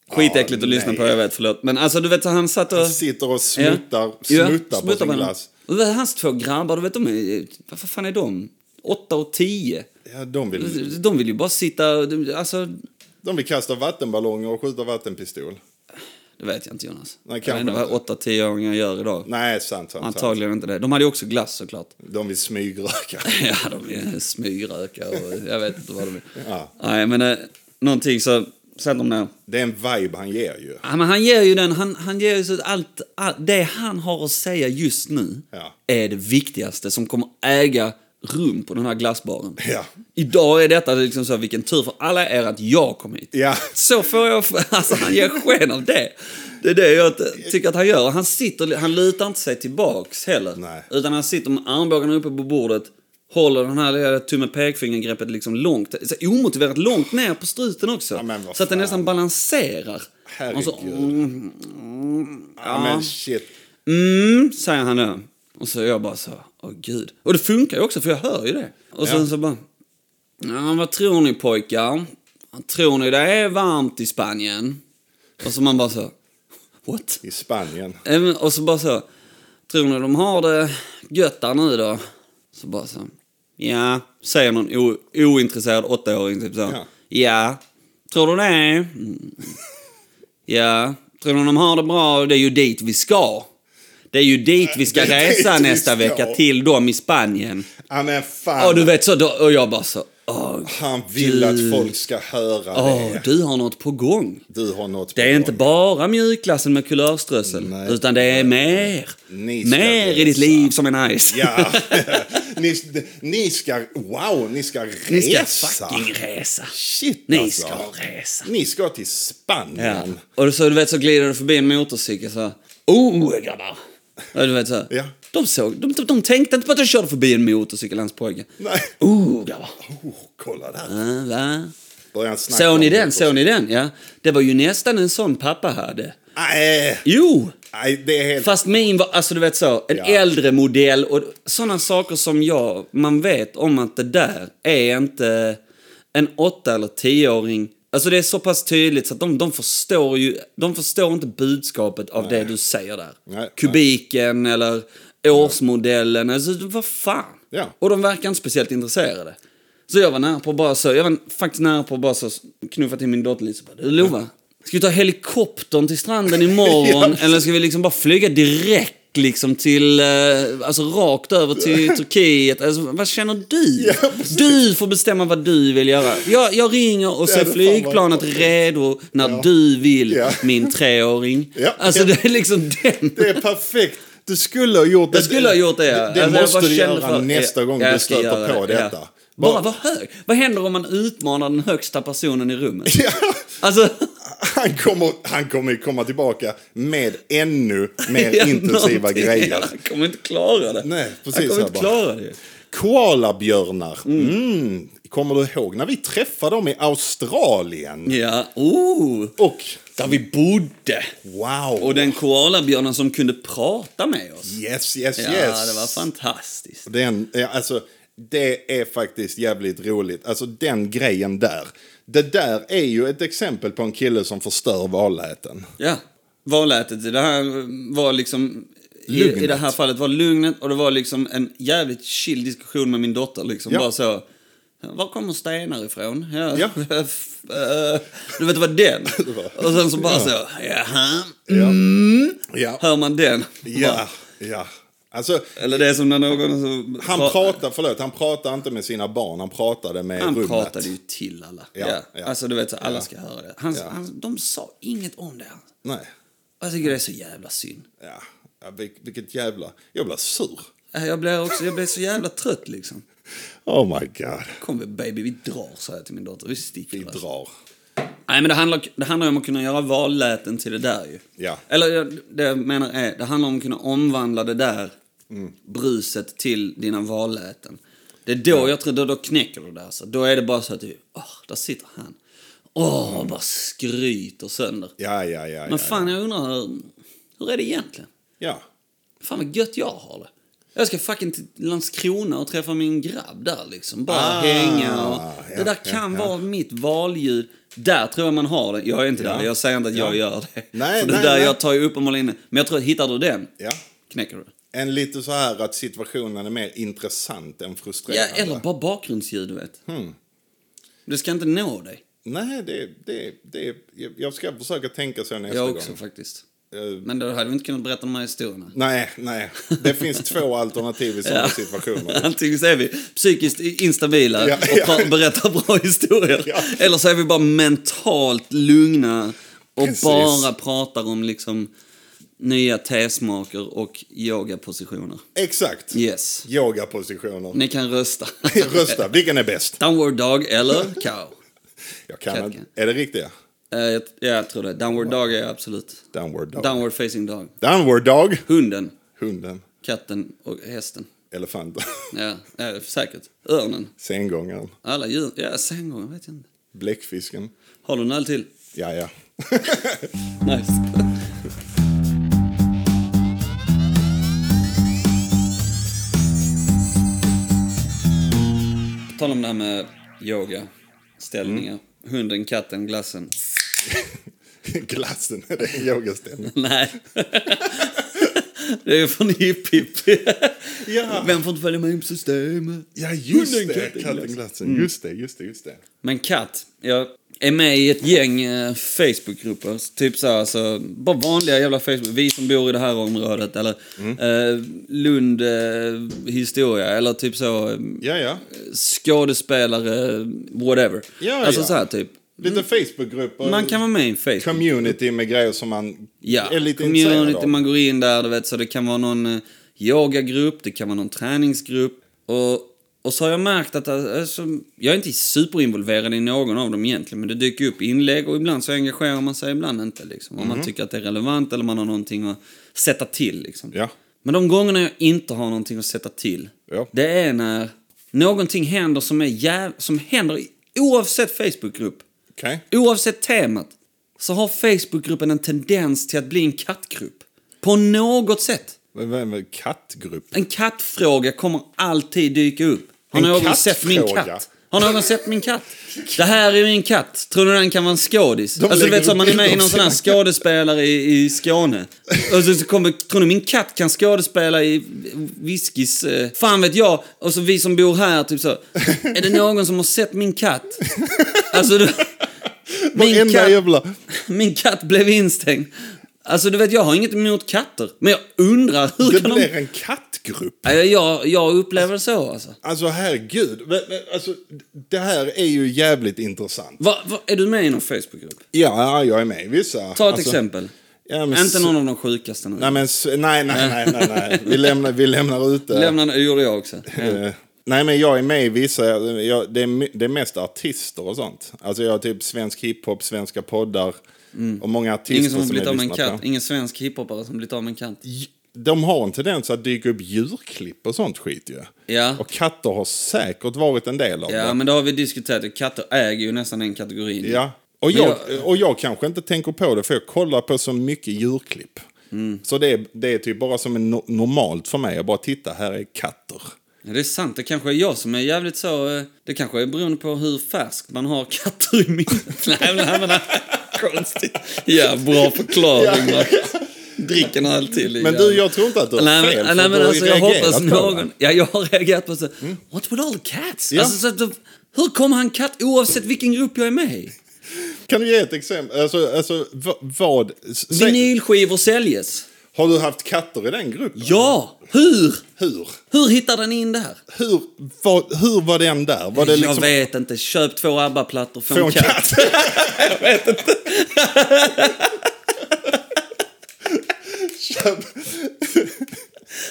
S2: Skitäckligt
S1: Ah,
S2: att lyssna
S1: nej.
S2: på, jag vet, förlåt. Men alltså du vet, så han satt och...
S1: Han sitter och smuttar,
S2: Ja,
S1: smuttar på sin
S2: den.
S1: glass.
S2: Och det är hans två grabbar, du vet, de är... Vad fan är de? Åtta och tio.
S1: Ja, de, vill,
S2: De vill ju bara sitta... de- Alltså...
S1: de vill kasta vattenballonger och skjuta vattenpistol.
S2: Det vet jag inte, Jonas.
S1: Nej,
S2: jag vet
S1: kanske
S2: inte vad
S1: inte.
S2: åtta, tioåringar gör idag.
S1: Nej, sant, sant, sant.
S2: Antagligen inte det. De hade ju också glass såklart.
S1: De vill smygröka.
S2: (laughs) Ja, de är smygrökar och jag vet inte vad de är.
S1: Ja.
S2: Nej, men eh, någonting så satt de ner.
S1: Det är en vibe han ger ju.
S2: Ja, men han ger ju den, han, han ger ju så allt, allt, det han har att säga just nu
S1: Ja.
S2: är det viktigaste som kommer äga rum på den här glassbaren.
S1: Ja.
S2: Idag är detta liksom så, här, vilken tur för alla er att jag kom hit.
S1: Ja.
S2: Så får jag, (laughs) alltså han ger sken av det. Det är det jag t- tycker att han gör. Han sitter, han lutar inte sig tillbaks heller.
S1: Nej.
S2: Utan han sitter med armbågarna uppe på bordet, håller den här lilla tumme pekfingergreppet liksom långt, så omotiverat långt ner på struten också.
S1: Ja, men vad
S2: så att den
S1: fan.
S2: nästan balanserar. Och så,
S1: Herregud.
S2: mm,
S1: Ja, men shit.
S2: mm, säger han då. Och så jag bara så, åh gud. Och det funkar ju också för jag hör ju det. Och sen
S1: Ja.
S2: så bara, ja vad tror ni pojkar? Tror ni det är varmt i Spanien? Och så man bara så, what?
S1: I Spanien.
S2: Ja, men- Och så bara så, tror ni de har det gött där nu då? Så bara så, ja, säger någon o- ointresserad åttaåring typ så. Ja.
S1: Ja.
S2: tror du det? Mm. Ja, tror du de har det bra? Det är ju dit vi ska. Det är ju dit vi ska
S1: Det är dit
S2: resa
S1: vi
S2: nästa
S1: ska.
S2: vecka till dem i Spanien.
S1: Ja, men fan.
S2: Och du vet så, då, och jag bara så, åh,
S1: han vill
S2: du-
S1: att folk ska höra
S2: åh,
S1: det.
S2: du har något på gång.
S1: Du har något
S2: Det är inte bara mjukglassen med kulörströssel,
S1: Nej.
S2: utan det är mer.
S1: Ni ska
S2: Mer i ditt
S1: resa.
S2: liv som är nice.
S1: Ja. (laughs) ni, ni ska... Wow, ni ska resa.
S2: (laughs) Ni ska fucking resa.
S1: Shit,
S2: Ni
S1: alltså.
S2: ska resa.
S1: Ni ska till
S2: Ja.
S1: Spanien.
S2: Och så, du vet, så glider du förbi en motorcykel så här, Oh, grabbar. Ja, du vet så. här.
S1: Ja.
S2: De, såg, de, de, de tänkte inte på att jag körde förbi en motorcykel, hans pojke.
S1: Nej.
S2: Oh, grabbar.
S1: Oh, kolla där.
S2: Äh, va?
S1: Börjar han snacka
S2: Såg
S1: om
S2: ni
S1: det
S2: den?
S1: på-
S2: Såg ni den? Ja. Det var ju nästan en sån pappa hade.
S1: Nej,
S2: Jo!
S1: nej, det är helt...
S2: Fast min var, alltså du vet så, en
S1: Ja.
S2: äldre modell och sådana saker som jag, man vet om att det där är inte en åtta eller tioåring. Alltså det är så pass tydligt så att de, de förstår ju, de förstår inte budskapet av det du säger där.
S1: Nej,
S2: Kubiken eller årsmodellen, alltså vad fan.
S1: Ja.
S2: Och de verkar inte speciellt intresserade. Så jag var nära på att bara så, jag var faktiskt nära på att bara så knuffa till min dotter lite så bara, du Lova, ska vi ta helikoptern till stranden imorgon eller ska vi liksom bara flyga direkt? Liksom till, eh, alltså rakt över till Turkiet. Alltså, vad känner du?
S1: Ja, precis.
S2: du får bestämma vad du vill göra. Jag, jag ringer och
S1: Det
S2: ser
S1: hade fan varit
S2: flygplanet
S1: bra.
S2: redo när du vill,
S1: Ja.
S2: min treåring.
S1: Ja.
S2: Alltså
S1: Ja.
S2: det är liksom den.
S1: Det är perfekt. Du skulle ha gjort det.
S2: Jag skulle ha gjort det.
S1: Det, det
S2: Alltså, jag
S1: måste
S2: bara
S1: du
S2: känner
S1: göra
S2: för-
S1: nästa
S2: Ja,
S1: gång
S2: jag
S1: du
S2: ska
S1: stöter
S2: göra
S1: på
S2: det,
S1: detta.
S2: Ja. Bara vara hög. Vad händer om man utmanar den högsta personen i rummet?
S1: Ja.
S2: Alltså,
S1: (laughs) Han kommer, han kommer ju komma tillbaka med ännu mer
S2: (laughs) ja,
S1: intensiva
S2: någonting.
S1: grejer.
S2: Ja, Han kommer inte klara det.
S1: Nej, precis,
S2: Han kommer
S1: jag
S2: inte
S1: bara-
S2: klara det.
S1: Koalabjörnar. Mm. Kommer du ihåg när vi träffade dem i Australien?
S2: Ja, oh,
S1: Och
S2: där vi bodde.
S1: wow!
S2: Och den koalabjörnen som kunde prata med oss.
S1: Yes, yes,
S2: Ja,
S1: yes.
S2: det var fantastiskt.
S1: Den, ja, alltså, det är faktiskt jävligt roligt. Alltså den grejen där. Det där är ju ett exempel på en kille som förstör valhäten.
S2: Ja, valätet i det här var liksom... I,
S1: Lugnet.
S2: I det här fallet var lugnet och det var liksom en jävligt chill diskussion med min dotter. Liksom
S1: Ja.
S2: bara så... Var kommer stenar ifrån? Ja. (laughs)
S1: Ja.
S2: eh, du vet, det
S1: (laughs)
S2: var den. och sen så bara så... Jaha.
S1: Ja. Ja.
S2: Mm. Hör man den?
S1: Ja.
S2: Bara,
S1: ja. Alltså,
S2: eller det är som när någon... Så,
S1: han pratade, förlåt, han pratade inte med sina barn, han pratade med
S2: Han
S1: rummet.
S2: pratade ju till alla. Ja,
S1: Ja, ja.
S2: Alltså, du vet, så, alla
S1: Ja.
S2: ska höra det. Han,
S1: Ja.
S2: han, de sa inget om det.
S1: Nej.
S2: Jag tycker det är så jävla synd.
S1: Ja. ja. vil- Vilket jävla... Jag blir sur.
S2: Äh, Jag blev, också, jag blev så jävla trött liksom.
S1: Oh my god.
S2: Kom vi, baby, vi drar, sa jag till min dotter. Vi sticker.
S1: Vi
S2: alltså.
S1: drar.
S2: Nej, men det handlar, det handlar ju om att kunna göra valläten till det där ju.
S1: Ja.
S2: Eller ja, det jag menar är, det handlar om att kunna omvandla det där
S1: Mm.
S2: bruset till dina valläten. Det är då jag tror, då, då knäcker du det alltså. Då är det bara så att du, åh, där sitter han. Åh,
S1: Mm.
S2: bara skryter sönder.
S1: Ja, ja, ja. ja,
S2: Men fan, jag undrar, hur, hur är det egentligen?
S1: ja.
S2: Fan vad gött jag har det. Jag ska fucking till Landskrona och träffa min grabb där liksom. Bara
S1: Ah,
S2: hänga och... det
S1: ja,
S2: där
S1: ja,
S2: kan
S1: ja.
S2: vara mitt valljud. Där tror jag man har det. Jag är inte
S1: Ja.
S2: där. Jag säger inte att
S1: Ja.
S2: jag gör (laughs) det.
S1: Nej,
S2: För det
S1: nej,
S2: där
S1: nej.
S2: jag tar ju upp och målar in det. Men jag tror, hittar du den,
S1: Ja.
S2: knäcker du det.
S1: En lite så här att situationen är mer intressant än
S2: Ja,
S1: frustrerande. Hmm.
S2: eller bara bakgrundsljud, du vet. Det ska inte nå dig.
S1: Nej, det, det, det, jag- jag ska försöka tänka så nästa
S2: Jag också
S1: gång.
S2: faktiskt.
S1: Eh,
S2: Men då hade vi inte kunnat berätta de här historierna.
S1: nej, nej. Det finns
S2: (laughs)
S1: två alternativ i sådana (laughs) situationer.
S2: Antingen så är vi psykiskt instabila
S1: Ja,
S2: och
S1: ja.
S2: pra- berättar bra historier.
S1: Ja.
S2: Eller så är vi bara mentalt lugna och
S1: Precis.
S2: bara pratar om liksom nya tesmaker och yogapositioner.
S1: Exakt.
S2: Yes.
S1: Yogapositioner.
S2: Ni kan rösta.
S1: (laughs) Rösta. Vilken är bäst?
S2: (laughs) Downward dog eller cow?
S1: Jag kan
S2: Katka.
S1: inte. Är det riktiga?
S2: Eh, jag, ja, jag tror det. Downward dog är absolut.
S1: Downward dog.
S2: Downward facing dog.
S1: Downward dog.
S2: Hunden,
S1: Hunden.
S2: katten och hästen.
S1: Elefanten. (laughs)
S2: Ja, ja säkert. Örnen.
S1: Sengångaren.
S2: Alla djur. Ja, sänggången vet jag inte.
S1: Bläckfisken.
S2: Har du en öl till?
S1: Ja, ja.
S2: Nice. På tal om det här med yoga, ställningar.
S1: Mm.
S2: Hunden, katten, glassen. (laughs)
S1: Glassen. (laughs) Det är en yogaställning.
S2: Nej. det är ju från Hipp Hipp.
S1: Ja.
S2: Vem får inte följa med in på systemet?
S1: Ja, just
S2: Hunden, Mm.
S1: det.
S2: katten,
S1: Katten Glassen.
S2: glassen.
S1: Just det, just det, just det.
S2: Men katt, jag är med i ett gäng eh, Facebookgrupper. Typ så här, alltså, bara vanliga jävla Facebook. Vi som bor i det här området eller
S1: Mm.
S2: eh, Lund eh, historia eller typ så eh,
S1: Ja, ja.
S2: skådespelare, whatever.
S1: Ja,
S2: alltså
S1: ja.
S2: så här typ.
S1: Lite Facebookgrupper.
S2: Man kan vara med i en Facebook.
S1: community med grejer som man
S2: Ja,
S1: är lite intresserad
S2: community,
S1: av.
S2: man går in där, du vet, så det kan vara någon eh, yogagrupp, det kan vara någon träningsgrupp. Och, och så har jag märkt att, alltså, jag är inte superinvolverad i någon av dem egentligen, men det dyker upp inlägg och ibland så engagerar man sig, ibland inte liksom. Om
S1: Mhm.
S2: man tycker att det är relevant eller man har någonting att sätta till liksom.
S1: Ja.
S2: Men de gångerna jag inte har någonting att sätta till,
S1: Ja.
S2: det är när någonting händer som, är jäv- som händer i- oavsett Facebookgrupp.
S1: Okej.
S2: Oavsett temat så har Facebookgruppen en tendens till att bli en kattgrupp. På något sätt.
S1: Men vad är med Kattgrupp?
S2: En kattfråga kommer alltid dyka upp. Har
S1: En
S2: någon sett min
S1: kattfråga?
S2: katt? Har någon sett min katt? Det här är min katt. Tror ni den kan vara en skådis?
S1: De
S2: alltså, du vet
S1: lägger
S2: så, man är
S1: upp
S2: med i
S1: bilder
S2: någon
S1: av
S2: sån här
S1: sina
S2: skådespelare i, i Skåne. Och så, så kommer, tror ni min katt kan skådespela i Whiskys... Eh, fan vet jag. Och så vi som bor här, typ så. Är det någon som har sett min katt? Alltså, du,
S1: (laughs)
S2: min,
S1: Varenda
S2: katt
S1: jävla...
S2: min katt blev instängd. Alltså, du vet, jag har inget emot katter. Men jag undrar hur
S1: Det
S2: kan de...
S1: blir en kattgrupp.
S2: Nej, Jag, jag upplever det så alltså.
S1: Alltså herregud. Men- men, Alltså, det här är ju jävligt intressant.
S2: Va, va, är du med i någon Facebookgrupp?
S1: Ja, jag är med i vissa.
S2: Ta ett
S1: Alltså,
S2: exempel.
S1: Ja, men
S2: Inte någon av de sjukaste nu.
S1: Nej, men, s- nej, nej, nej, nej, nej. Vi lämnar, vi lämnar ute.
S2: (laughs) Lämna, det gjorde jag också.
S1: Eh, Nej, men jag är med i vissa, jag, det, är, my- det är mest artister och sånt. Alltså jag har typ svensk hiphop, svenska poddar och många artister
S2: Mm. Ingen som har
S1: som
S2: blivit
S1: jag
S2: av med en
S1: lyssnar
S2: katt.
S1: på.
S2: Ingen svensk hiphopare som blivit av med en katt.
S1: J- De har en tendens att dyka upp djurklipp och sånt skit ju.
S2: Ja.
S1: Och katter har säkert varit en del av
S2: Ja,
S1: det.
S2: men det har vi diskuterat. Katter äger ju nästan den kategorin.
S1: Ja. Och
S2: Men
S1: jag, och jag kanske inte tänker på det för jag kollar på så mycket djurklipp.
S2: Mm.
S1: Så det är, det är typ bara som en no- normalt för mig. Jag bara titta här är katter.
S2: Ja, Det är sant. Det kanske är jag som är jävligt så... eh, Det kanske är beroende på hur färsk man har katter i minnet. (laughs) Nej, men- nej, men... Konstigt. Ja, bra förklaring, Marcus. Dricker en öl till. i
S1: Men
S2: jäveln.
S1: du, jag tror inte att du har
S2: Nej,
S1: fel.
S2: men,
S1: för
S2: nej,
S1: du
S2: men
S1: har ju
S2: alltså, jag
S1: reagerat
S2: hoppas
S1: på det. Mm.
S2: någon... Ja, jag har reagerat på så. What with all the cats?
S1: Ja.
S2: Alltså, så att, de- hur kommer han katt oavsett vilken grupp jag är med i?
S1: Kan du ge ett exempel? Alltså, alltså v- vad... s- Säg,
S2: Vinylskivor säljes.
S1: Har du haft katter i den gruppen?
S2: Ja! Hur?
S1: Hur?
S2: Hur hittar den in där?
S1: Hur, vad, hur var den där? Var det
S2: Jag
S1: liksom...
S2: vet inte. Köp två ABBA-plattor, få
S1: Få
S2: en katt.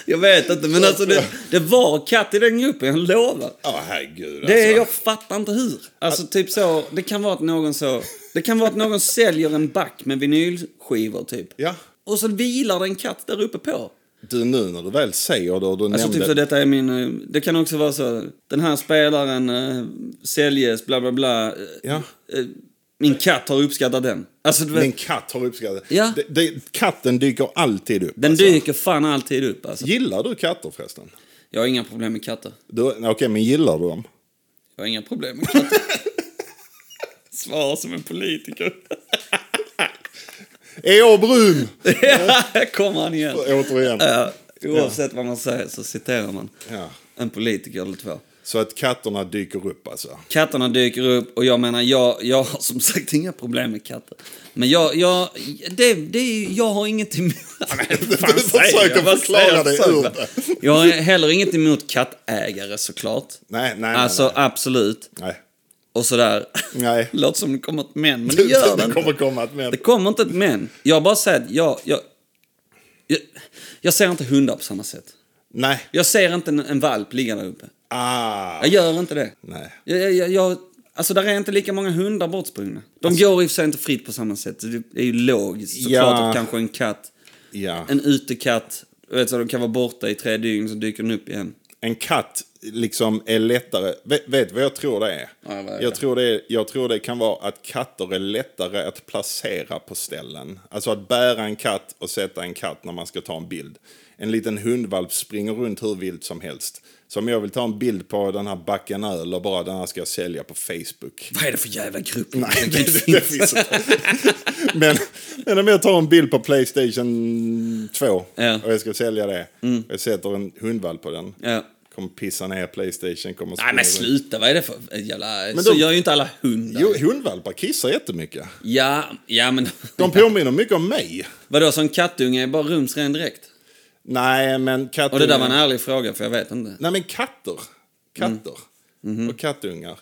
S2: Jag vet inte, men alltså det, det var katt i den gruppen, jag lovar.
S1: (laughs) Ja, herregud.
S2: Det är,
S1: alltså.
S2: jag fattar inte hur. Alltså typ så, det kan vara att någon så... Det kan vara att någon säljer en back med vinylskivor typ.
S1: Ja.
S2: Och så vilar det en katt där uppe på.
S1: Du, nu när du väl säger det och du
S2: Alltså typ
S1: nämnde...
S2: så detta är min... eh, Det kan också vara så. Den här spelaren äh, säljes, bla bla bla. eh,
S1: Ja.
S2: eh, min katt har uppskattat den. Alltså du vet,
S1: Min katt har uppskattat
S2: Ja.
S1: det, det. Katten dyker alltid upp.
S2: den
S1: alltså.
S2: dyker fan alltid upp alltså.
S1: Gillar du katter förresten?
S2: Jag har inga problem med katter.
S1: Du- Okej, men gillar du dem?
S2: Jag har inga problem med katter.
S1: (laughs)
S2: Svar som en politiker.
S1: Är jag brun? (laughs)
S2: Här (laughs) kommer han igen.
S1: Återigen.
S2: Ja, oavsett vad man säger så citerar man
S1: Ja.
S2: en politiker eller två.
S1: Så att katterna dyker upp alltså.
S2: Katterna dyker upp och jag menar, jag, jag har som sagt inga problem med katter. Men jag, jag, det, det är, ju- jag har inget emot... (laughs)
S1: Du försöker förklara dig ur det.
S2: Jag har heller inget emot kattägare såklart.
S1: Nej, nej,
S2: Alltså
S1: nej.
S2: absolut.
S1: nej.
S2: Och sådär.
S1: Nej.
S2: (laughs) Låter som det kommer ett men, men det gör det
S1: det
S2: inte.
S1: kommer komma ett men.
S2: Det kommer inte ett men. Jag bara säger att jag, jag, jag, jag ser inte hundar på samma sätt.
S1: Nej.
S2: Jag ser inte en, en valp ligga där uppe.
S1: Ah.
S2: Jag gör inte det.
S1: Nej.
S2: Jag, jag, jag, jag, alltså, där är inte lika många hundar bortsprungna. De
S1: Alltså-
S2: går i och för sig inte fritt på samma sätt. Det är ju logiskt såklart
S1: Ja.
S2: att kanske en katt,
S1: Ja. En,
S2: en utekatt, du vet så de kan vara borta i tre dygn så dyker den upp igen.
S1: katt liksom är lättare. Vet, vet vad jag tror det är?
S2: Ja, vad är
S1: jag,
S2: det?
S1: tror det är jag tror det kan vara att katter är lättare att placera på ställen. Alltså att bära en katt och sätta en katt när man ska ta en bild. En liten hundvalp springer runt hur vilt som helst. Så om jag vill ta en bild på den här backen öl och bara den här ska jag sälja på Facebook.
S2: (laughs) Vad är det för jävla grupp?
S1: Nej,
S2: kan inte
S1: det, (laughs) det finns inte. men, men om jag tar en bild på Playstation 2
S2: Ja. Mm.
S1: och jag ska sälja det. Jag sätter en hundvalp på den.
S2: Ja.
S1: Kommer pissa ner Playstation. Kommer
S2: Nej men
S1: springa
S2: sluta, vad är det för ett jävla...
S1: Men
S2: så
S1: de-
S2: gör ju inte alla hundar.
S1: runt. Jo, hundvalpar kissar jättemycket.
S2: Ja, ja men...
S1: De påminner mycket om mig.
S2: Vadå, som kattunge är bara rumsren direkt?
S1: Nej, men katter...
S2: Och det där var en ärlig fråga för jag vet inte.
S1: Nej, men katter. Katter.
S2: Mm. Mm-hmm.
S1: Och kattungar.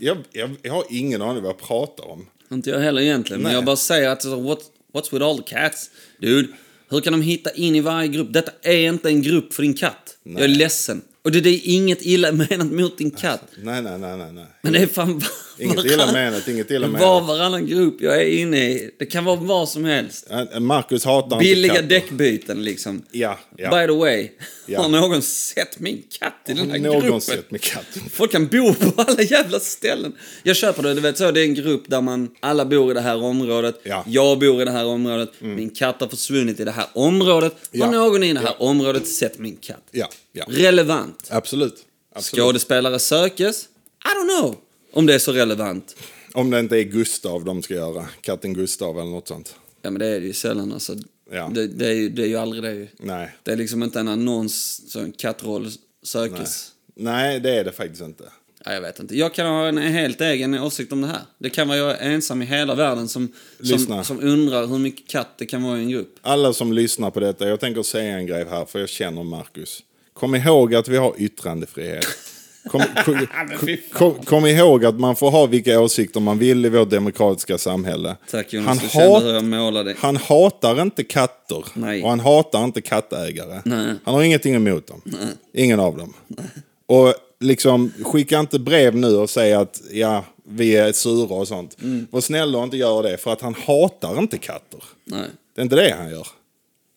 S1: Jag, jag, jag har ingen aning vad jag pratar om.
S2: Inte jag heller egentligen, men
S1: Nej.
S2: jag bara säger att så, what, what's with all the cats? Dude, hur kan de hitta in i varje grupp? Detta är inte en grupp för din katt. Jag är ledsen. Och det, det är inget illa menat mot din katt.
S1: Nej, nej, nej, nej. nej.
S2: Men det är fan var-
S1: Alltså. Inget illa menat, inget illa menat.
S2: Var varannan grupp jag är inne i. Det kan vara vad som helst.
S1: Eh, Marcus hatar
S2: Billiga
S1: inte katter.
S2: däckbyten liksom.
S1: Ja, ja.
S2: By the way,
S1: Ja.
S2: har någon sett min katt i den här
S1: Någon
S2: gruppen?
S1: sett med katt.
S2: Folk kan bo på (laughs) alla jävla ställen. Jag köper det, du vet så, det är en grupp där man, alla bor i det här området.
S1: Ja. Mm.
S2: Jag bor i det här området. Min katt har försvunnit i det här området.
S1: Ja.
S2: Har någon i det här området sett min katt?
S1: Ja, ja.
S2: Relevant.
S1: Absolut. Absolut.
S2: Skådespelare sökes. I don't know om det är så relevant.
S1: Om det inte är Gustav de ska göra. Katten Gustav eller något sånt.
S2: Ja, men det är det ju sällan. Alltså.
S1: Ja. Mm.
S2: Det, det, är ju, det är ju aldrig det. ju.
S1: Nej.
S2: Det är liksom inte en annons, så en kattroll sökes.
S1: Nej, det är det faktiskt inte.
S2: Ja, jag vet inte. Jag kan ha en helt egen åsikt om det här. Det kan vara jag ensam i hela världen som,
S1: Lyssna.
S2: som, som undrar hur mycket katt det kan vara i en grupp.
S1: Alla som lyssnar på detta, jag tänker säga en grej här för jag känner Marcus. Kom ihåg att vi har yttrandefrihet. Kom, kom, kom, kom ihåg att man får ha vilka åsikter man vill i vårt demokratiska samhälle.
S2: Tack Jonas, du kände hur jag målade.
S1: han hatar inte katter
S2: Nej.
S1: och han hatar inte kattägare.
S2: Nej.
S1: Han har ingenting emot dem. Ingen av dem. Och liksom, skicka inte brev nu och säg att ja, vi är sura och sånt.
S2: Mm.
S1: Var snäll och inte gör det för att han hatar inte katter.
S2: Nej.
S1: Det är inte det han gör.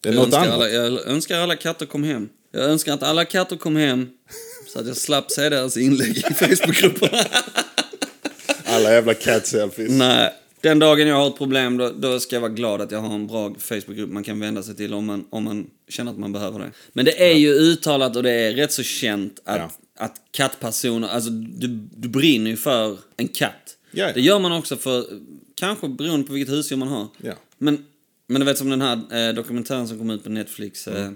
S1: Det är
S2: Jag
S1: något
S2: önskar,
S1: annat.
S2: alla, jag önskar alla katter kom hem. Jag önskar att alla katter kom hem så att jag slapp se deras inlägg
S1: (laughs)
S2: i Facebookgrupperna.
S1: Alla jävla cat-selfies.
S2: Nej. Den dagen jag har ett problem då, då ska jag vara glad att jag har en bra Facebookgrupp man kan vända sig till om man, om man känner att man behöver det. Men det är ju uttalat och det är rätt så känt att,
S1: Ja.
S2: att kattpersoner, alltså du, du brinner ju för en katt.
S1: Ja, ja.
S2: Det gör man också för, kanske beroende på vilket husdjur man har.
S1: Ja.
S2: Men, men du vet som den här eh, dokumentären som kom ut på Netflix,
S1: Mm.
S2: eh,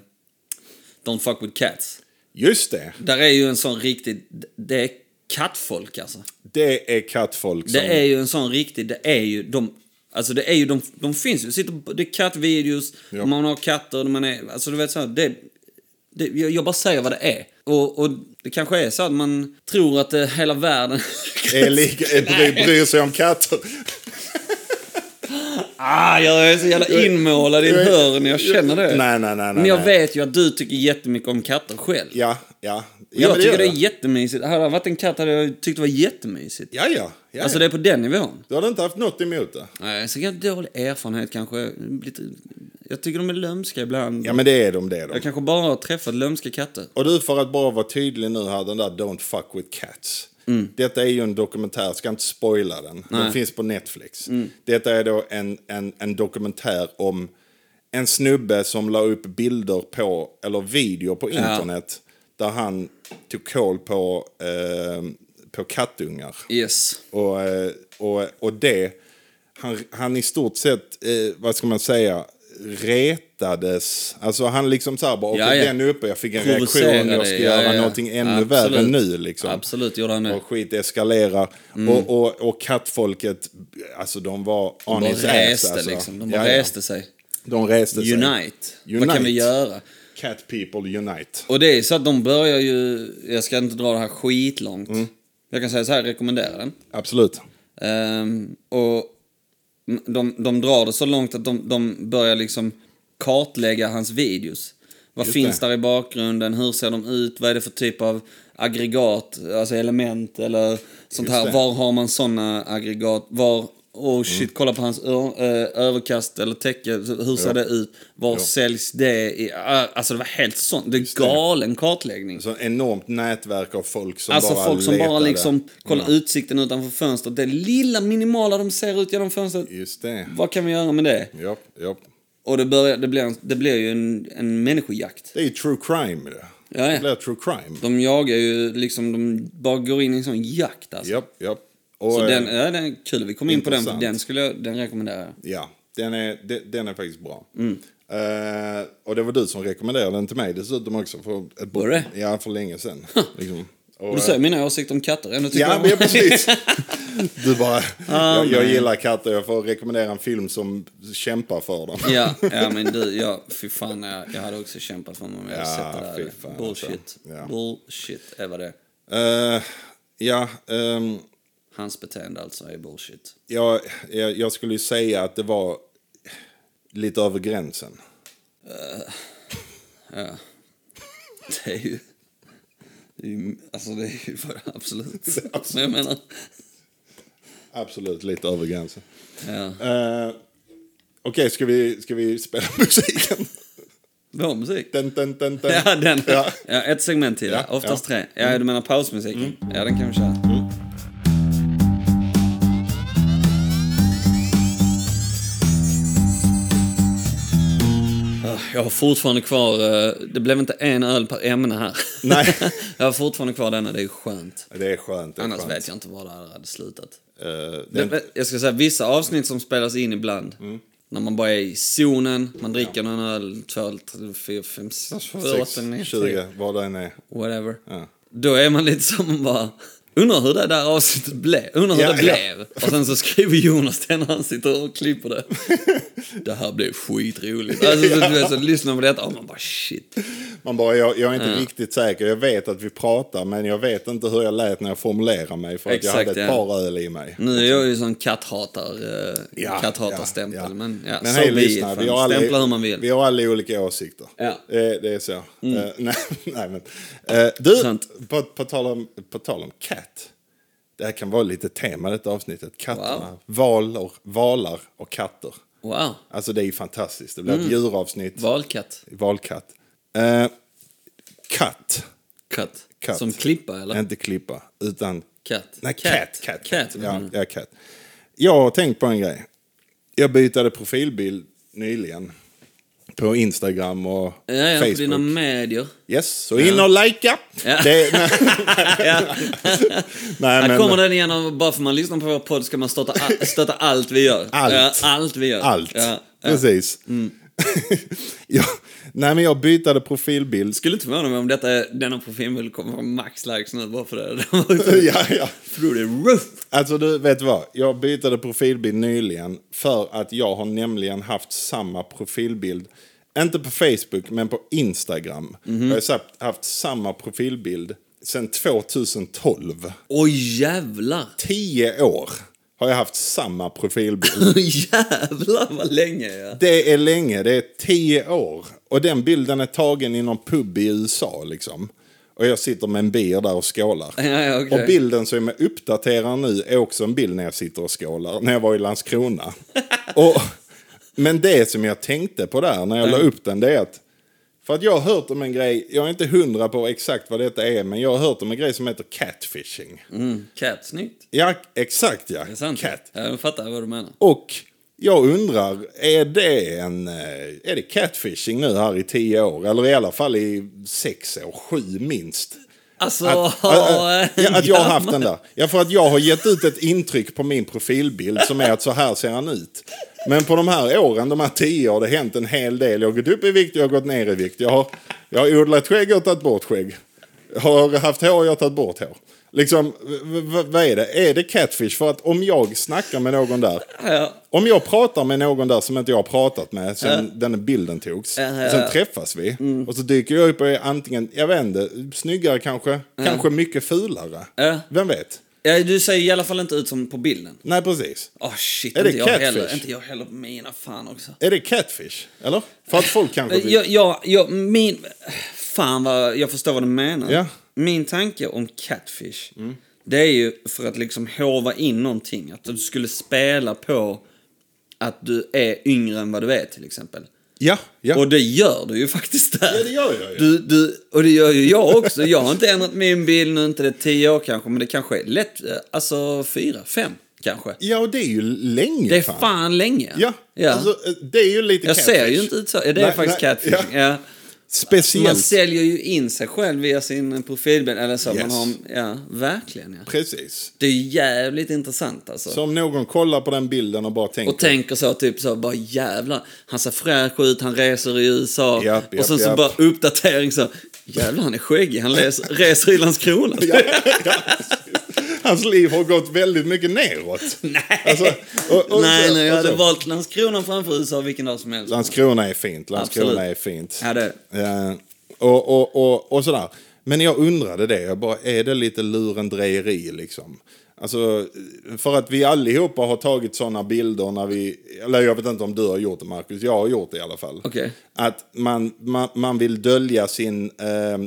S2: Don't fuck with cats.
S1: Just det.
S2: Där är ju en sån riktig, det är kattfolk alltså.
S1: Det är kattfolk som...
S2: Det är ju en sån riktig, det är ju de... Alltså det är ju de, de finns ju, sitter, det är kattvideos,
S1: Ja.
S2: man har katter, man är, alltså du vet så här, det, det, jag, jag bara säger vad det är. Och, och det kanske är så att man tror att eh, hela världen...
S1: (laughs) är lika, är bry, bryr sig om katter.
S2: ah, jag är så jävla inmålad i ett
S1: Jag är-
S2: hörn, jag känner det.
S1: Nej, nej, nej. nej
S2: Men jag
S1: nej.
S2: vet ju att du tycker jättemycket om katter själv.
S1: Ja, ja. ja
S2: jag
S1: men
S2: tycker det
S1: gör
S2: är jättemysigt. Hade det varit en katt hade jag tyckt det var jättemysigt.
S1: Ja, ja. ja,
S2: Alltså
S1: ja.
S2: det är på den nivån.
S1: Du hade inte haft något emot det?
S2: Nej, så jag har dålig erfarenhet kanske. Lite, jag tycker de är lömska ibland.
S1: Ja, men det är de, det är de.
S2: Jag kanske bara har träffat lömska katter.
S1: Och du, för att bara vara tydlig nu här, den där Don't fuck with cats. Detta är ju en dokumentär, jag ska inte spoila den. Den finns på Netflix. Detta är då en, en, en dokumentär om en snubbe som la upp bilder på, eller video på internet, där han tog koll på, eh, på kattungar.
S2: Yes.
S1: Och, eh, och, och det, han, han i stort sett, eh, vad ska man säga, retades. Alltså han liksom så här bara, okej
S2: Ja, ja.
S1: den är uppe, jag fick en reaktion,
S2: Provocerade,
S1: jag ska
S2: ja,
S1: göra
S2: ja, ja.
S1: någonting ännu
S2: Absolut.
S1: värre nu liksom.
S2: Absolut Mm. gjorde han det.
S1: Och skit eskalerar. Och, och, och kattfolket, alltså de var on
S2: De
S1: his
S2: reste
S1: ass. Alltså.
S2: liksom. De
S1: Ja,
S2: bara
S1: ja.
S2: reste sig.
S1: De reste sig.
S2: Unite. Vad
S1: Unite.
S2: kan vi göra?
S1: Cat people unite.
S2: Och det är så att de börjar ju... Jag ska inte dra det här skitlångt.
S1: Mm.
S2: Jag kan säga så här, rekommendera den.
S1: Absolut.
S2: Ehm, och de, de drar det så långt att de, de börjar liksom kartlägga hans videos. Vad
S1: Just
S2: finns
S1: det.
S2: där i bakgrunden? Hur ser de ut? Vad är det för typ av aggregat, alltså element eller sånt
S1: Just
S2: här?
S1: det. Mm.
S2: Var har man såna aggregat? Var, oh shit, kolla på hans ö- eh, överkast eller täcke. Hur ser
S1: Ja.
S2: det ut? Var
S1: Ja.
S2: säljs det? I, alltså det var helt sånt. Det är
S1: det.
S2: galen kartläggning.
S1: Så enormt nätverk av folk som
S2: Alltså
S1: bara
S2: folk som bara
S1: letade. Mm.
S2: liksom kollar utsikten utanför fönstret. Det lilla minimala de ser ut genom fönstret.
S1: Just det.
S2: Vad kan vi göra med det?
S1: Ja, ja.
S2: Och det, börjar, det, blir, en, det blir ju en, en människojakt.
S1: Det är ju true crime det.
S2: Ja, ja.
S1: Det blir true crime.
S2: De jagar ju liksom, de bara går in i en sån jakt alltså.
S1: Japp, japp. Och,
S2: Så
S1: eh,
S2: den, ja, den är kul. Vi kom in på den, för
S1: Intressant.
S2: den skulle jag, den rekommenderar jag.
S1: Ja, den är, de- den är faktiskt bra.
S2: Mm.
S1: Eh, och det var du som rekommenderade den till mig dessutom också. För, ett,
S2: Var det?
S1: Ja, för länge sedan. liksom. och,
S2: Och du
S1: eh,
S2: säger mina åsikter om katter. Ändå tycker
S1: Ja,
S2: jag
S1: men ja,
S2: om...
S1: precis. Du bara, jag, jag
S2: Ah, nej.
S1: gillar katter, jag får rekommendera en film som kämpar för dem.
S2: (laughs) ja, ja, men du, ja, fy fan. Jag, jag hade också kämpat för mig om jag hade
S1: Ja,
S2: sett det där.
S1: fy fan,
S2: Bullshit.
S1: alltså. Ja.
S2: Bullshit är vad det är.
S1: Eh, ja, ehm,
S2: Hans beteende alltså är bullshit.
S1: jag, jag, jag skulle ju säga att det var lite över gränsen.
S2: Ja. (laughs) Det är ju... Det är ju alltså det är ju bara (laughs) absolut. Men jag menar...
S1: Absolut, lite över gränsen.
S2: Ja.
S1: Eh, Okej, ska, vi, ska vi spela (laughs) musiken?
S2: Vår musik.
S1: Dun, dun, dun, dun.
S2: Ja, den.
S1: Ja.
S2: (laughs) Ja. ett segment till.
S1: Ja,
S2: Oftast
S1: ja.
S2: tre. Ja, Mm. du menar pausmusiken? Ja, den kan vi köra. Ah, Jag har fortfarande kvar... eh, Det blev inte en öl per ämne (laughs) här.
S1: Nej.
S2: jag har fortfarande kvar denna, det är skönt.
S1: Det är skönt. Det är
S2: Annars
S1: skönt.
S2: alltså, vet jag inte var det här hade slutat.
S1: Eh,
S2: Det- Mm.
S1: den,
S2: Jag ska säga, vissa avsnitt som spelas in ibland, när man bara är i zonen, man dricker någon öl, två, öl, tre, fyra, fem, sex, sju, åtta, nio,
S1: 6, 20, vad den är.
S2: whatever.
S1: Ja.
S2: Då är man lite som man bara, undrar hur det där avsnittet blev. Undrar hur
S1: Ja,
S2: det
S1: ja.
S2: blev. Och sen så skriver Jonas det när han sitter och
S1: (laughs)
S2: klipper det. det här blev skitroligt. Alltså, så, du vet, så lyssnar man på detta och man bara shit.
S1: Man bara, jag, jag är inte riktigt säker. Jag vet att vi pratar, men jag vet inte hur jag lät när jag formulerar mig. För att
S2: Exakt,
S1: jag hade ett
S2: ja.
S1: par öl i mig.
S2: Nu är jag ju sån katthatar, eh,
S1: Ja,
S2: katthatarstämpel.
S1: ja, ja.
S2: Men ja,
S1: men
S2: så
S1: hej,
S2: blir det.
S1: lyssna,
S2: fan.
S1: vi har alla,
S2: Stämpla hur man vill.
S1: Vi har alla olika åsikter.
S2: Ja. Mm.
S1: Det, det är så. Eh, (laughs) nej, nej, men. Eh, du,
S2: Sant.
S1: på, på, tal om, på tal om katt. Det här kan vara lite tema detta avsnittet. Katterna,
S2: Wow.
S1: valar, valar och katter.
S2: Wow,
S1: Alltså det är ju fantastiskt. Det blir
S2: Mm.
S1: ett djuravsnitt.
S2: valkatt.
S1: Valkatt. Eh, katt.
S2: Katt.
S1: Katt.
S2: Som klippa eller?
S1: Inte klippa, utan...
S2: Katt.
S1: Nej,
S2: Cat.
S1: katt. Katt.
S2: Cat, Mm.
S1: Ja,
S2: menar
S1: ja, katt. Jag har tänkt på en grej. Jag bytade profilbild nyligen. På Instagram och
S2: Ja, ja, på
S1: Facebook. (laughs)
S2: dina medier.
S1: Yes, så in och likea!
S2: Ja.
S1: (laughs) Det- nej,
S2: (laughs)
S1: nej,
S2: Här
S1: men,
S2: kommer den igen, och bara för man lyssnar på vår podd ska man stötta, all, stötta allt vi gör.
S1: Allt.
S2: Ja, allt vi gör.
S1: Allt.
S2: Ja, ja. Mm.
S1: Precis. (laughs) jag, nej, men jag bytade
S2: (laughs)
S1: profilbild.
S2: Skulle inte förvåna mig om detta, är- denna profilbild kommer från Max Likes nu bara för det. (laughs)
S1: ja, ja.
S2: Through the roof!
S1: Alltså du, vet du vad? Jag bytte profilbild nyligen för att jag har nämligen haft samma profilbild. Inte på Facebook, men på Instagram. Jag har sagt- haft samma profilbild sedan 2012.
S2: Oj jävlar!
S1: Tio år har jag haft samma profilbild.
S2: jävlar vad länge ja.
S1: Det är länge, det är tio år. Och den bilden är tagen i någon pub i USA liksom. Och jag sitter med en beer där och skålar.
S2: Ja, ja, okej.
S1: Och bilden som jag uppdaterar nu är också en bild när jag sitter och skålar. När jag var i
S2: (laughs)
S1: Landskrona. och, men det som jag tänkte på där när jag la upp den det är att. För att jag har hört om en grej, jag är inte hundra på exakt vad detta är. Men jag har hört om en grej som heter catfishing.
S2: Mm. Cat, snyggt.
S1: Ja, exakt ja.
S2: Det är sant.
S1: Cat.
S2: Ja, jag fattar vad du menar.
S1: Och jag undrar, är det en... eh, Är det catfishing nu här i tio år? Eller i alla fall i sex år, sju minst.
S2: Alltså,
S1: Att, äh, äh, ja, att jag har haft
S2: gammal-
S1: den där. Ja, för att jag har gett ut ett intryck på min profilbild som är att så här ser han ut. Men på de här åren, de här tio år, det har hänt en hel del. Jag har gått upp i vikt, jag har gått ner i vikt. Jag har, jag har odlat skägg och tagit bort skägg. Jag har haft hår, jag har tagit bort hår. Liksom, v- v- vad är det? Är det catfish? För att om jag snackar med någon där.
S2: Ja.
S1: Om jag pratar med någon där som inte jag har pratat med sen den bilden togs.
S2: Ja, ja,
S1: och sen
S2: ja.
S1: träffas vi.
S2: Mm.
S1: Och så dyker jag upp och är antingen, jag vet inte, snyggare kanske. Kanske mycket fulare.
S2: Ja.
S1: Vem vet?
S2: (laughs) Ja, du ser i alla fall inte ut som på bilden.
S1: Nej, precis.
S2: Åh shit,
S1: Är det
S2: inte jag, heller,
S1: catfish?
S2: inte jag heller på mina fan också.
S1: Är det catfish? Eller? För att folk kanske vill...
S2: Jag, jag, jag, min... Fan vad jag förstår vad du menar.
S1: Ja. Mm.
S2: Min tanke om catfish, det är ju för att liksom håva in någonting. Att du skulle spela på att du är yngre än vad du är till exempel.
S1: Ja, ja.
S2: Och det gör du ju faktiskt där.
S1: Ja, det gör jag ju.
S2: Du, du, och det gör ju jag också. Jag har inte ändrat min bild nu, inte det är tio år kanske, men det kanske är lätt, eh, alltså fyra, fem kanske.
S1: Ja, och det är ju länge
S2: Det är fan länge.
S1: Ja, Alltså, det är ju lite
S2: jag
S1: catfish.
S2: ser ju inte ut så. Ja, det är
S1: Nej,
S2: faktiskt
S1: nej,
S2: catfishing. Ja.
S1: Speciellt.
S2: Man säljer ju in sig själv via sin profilbild. Eller så. Man
S1: Yes.
S2: har, ja, verkligen ja.
S1: Precis.
S2: Det är ju jävligt intressant alltså.
S1: Så om någon kollar på den bilden och bara tänker...
S2: Och tänker så, typ så, bara jävlar. Han ser fräsch ut, han reser i USA.
S1: Japp,
S2: och
S1: japp,
S2: sen så
S1: japp.
S2: bara uppdatering så. Jävlar, han är skäggig. Han läser,
S1: (laughs)
S2: reser i Landskrona.
S1: Ja, ja. (laughs) Hans liv har gått väldigt mycket neråt.
S2: Nej.
S1: Alltså, och- alltså- och
S2: nej,
S1: så-
S2: nej, jag
S1: och
S2: hade
S1: så.
S2: valt Landskrona framför USA vilken dag som helst.
S1: Landskrona är fint. Landskrona
S2: Absolut.
S1: är fint.
S2: Ja, det-
S1: Eh, och, och, och, och sådär. Men jag undrade det. Jag bara, är det lite lurendrejeri liksom? Alltså, för att vi allihopa har tagit sådana bilder när vi... Eller jag vet inte om du har gjort det, Marcus. Jag har gjort det i alla fall.
S2: Okej.
S1: Att man, man, man vill dölja sin eh, eh,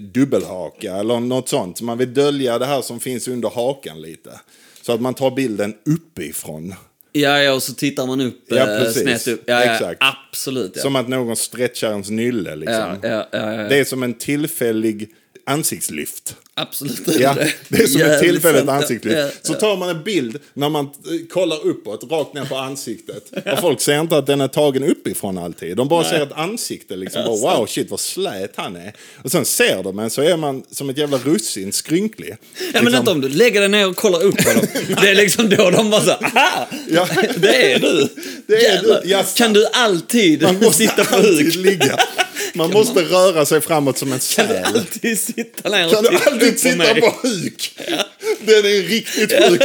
S1: dubbelhaka eller något sånt. Man vill dölja det här som finns under hakan lite. Så att man tar bilden uppifrån.
S2: Ja, ja, och så tittar man upp
S1: Ja,
S2: eh,
S1: precis.
S2: snett upp. Ja, ja,
S1: Exakt.
S2: absolut. Ja.
S1: Som att någon stretchar ens nylle. Liksom.
S2: Ja, ja, ja, ja.
S1: Det är som en tillfällig ansiktslyft.
S2: Absolut (laughs) inte.
S1: Ja, det är som ett
S2: Jävligt
S1: tillfälligt
S2: sant, ja.
S1: ansiktsklipp.
S2: Ja,
S1: Så
S2: ja.
S1: tar man en bild när man eh, kollar uppåt, rakt ner på
S2: (laughs)
S1: ansiktet. Och folk ser inte att den är tagen uppifrån alltid. De bara ser ett ansikte liksom. Bara, wow, shit vad slät han är. Och sen ser de en så är man som ett jävla russin, skrynklig.
S2: Ja,
S1: Liksom.
S2: men inte om du lägger dig ner och kollar upp på dem. Det är liksom då de bara så här, aha!
S1: Ja.
S2: Det är du!
S1: Det är du.
S2: Jävlar.
S1: Ja, sant.
S2: Kan du alltid
S1: Man
S2: (laughs)
S1: måste
S2: sitta på
S1: alltid
S2: huk?
S1: ligga. Man måste röra sig framåt som en säl.
S2: Kan du alltid sitta ner och
S1: Kan du
S2: titta
S1: alltid
S2: upp på
S1: sitta
S2: mig?
S1: på huk? Den är riktigt sjuk.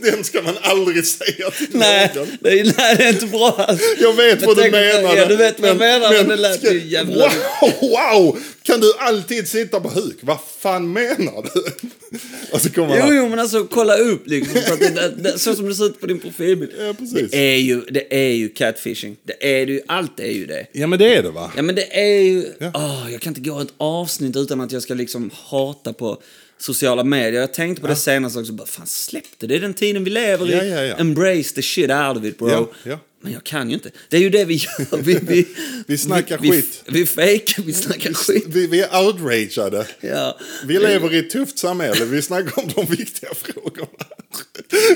S1: Den ska man aldrig säga till
S2: Nej,
S1: någon.
S2: det är, nej, det är inte bra alls.
S1: Jag vet vad du
S2: tänk om det-
S1: menade.
S2: Ja, du vet vad jag menar, men det lät ju jävla-
S1: Wow, wow! Kan du alltid sitta på huk? Vad fan menar du? Och så kommer man
S2: Jo,
S1: här.
S2: jo, men alltså kolla upp liksom. Så, att det, det, det, så som det ser ut på din profilbild.
S1: Ja, precis.
S2: Det är ju, det är ju catfishing. Det är det ju, allt är ju det.
S1: Ja, men det är det va?
S2: Ja, men det är ju... Åh, jag kan inte gå ett avsnitt utan att jag ska liksom hata på sociala medier. Jag tänkte på det senast också. Bara, fan, släpp det. Det är den tiden vi lever
S1: Ja,
S2: i.
S1: ja, ja.
S2: Embrace the shit out of it, bro.
S1: Ja, ja.
S2: Men jag kan ju inte. Det är ju det
S1: (laughs)
S2: vi gör. Vi, vi,
S1: Vi snackar
S2: vi,
S1: skit.
S2: Vi, vi fejkar, vi snackar skit.
S1: Vi, vi är outrageade.
S2: Ja.
S1: Vi lever i ett tufft samhälle. Vi snackar om de viktiga frågorna.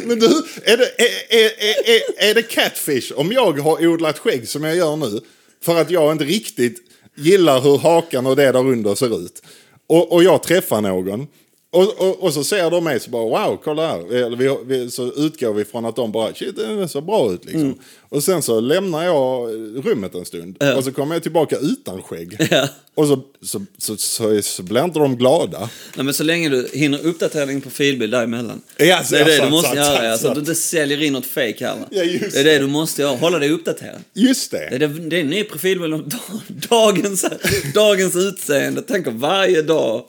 S1: Men du, är det, är, är, är, är, är det catfish om jag har odlat skägg som jag gör nu för att jag inte riktigt gillar hur hakan och det där under ser ut? Och, och jag träffar någon. Och, och, och så ser de mig så bara wow, kolla här. Eller vi, vi, så utgår vi från att de bara shit, den ser bra ut liksom. Och sen så lämnar jag rummet en stund. Och så kommer jag tillbaka utan skägg.
S2: Ja.
S1: Och så, så, så, så, så blir inte de glada.
S2: Nej, men så länge du hinner uppdatera din profilbild däremellan.
S1: Ja, så-
S2: det är
S1: ja,
S2: det
S1: sant,
S2: du måste
S1: sant,
S2: göra.
S1: sant,
S2: ja, så att
S1: sant.
S2: du inte säljer in något fake här. Va?
S1: Ja, just
S2: det är det
S1: det.
S2: du måste göra. Hålla dig uppdaterad.
S1: Just
S2: Det är,
S1: det.
S2: det, det är en ny profilbild om dag- (laughs) dagens, dagens utseende. Tänk om varje dag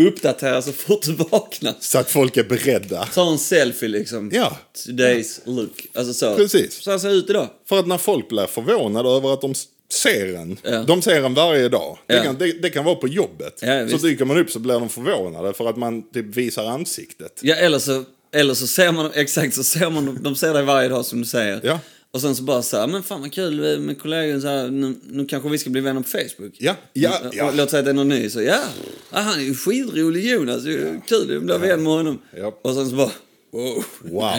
S2: uppdatera så fort du vaknar.
S1: Så att folk är beredda.
S2: Ta en selfie liksom.
S1: Ja.
S2: Today's look. Alltså så.
S1: Precis.
S2: Så här ser jag ut idag.
S1: För att när folk blir förvånade över att de s- ser en.
S2: Ja.
S1: De ser en varje dag. Det,
S2: Ja.
S1: kan, det, det kan vara på jobbet.
S2: Ja,
S1: så
S2: visst.
S1: dyker man upp så blir de förvånade för att man typ visar ansiktet.
S2: Ja, eller så, eller så ser man, (laughs) exakt så ser man, dem- de ser dig varje dag som du säger.
S1: Ja.
S2: Och sen så bara så här, men fan vad kul med kollegor, så här, nu, nu kanske vi ska bli vänner på Facebook.
S1: Ja, ja,
S2: Och-
S1: ja.
S2: Och, låt säga att det är någon ny, så ja, ah, han är ju skitrolig Jonas, det är ju kul, jag blir vän med honom.
S1: Ja.
S2: Och sen så bara, wow, (laughs)
S1: Wow.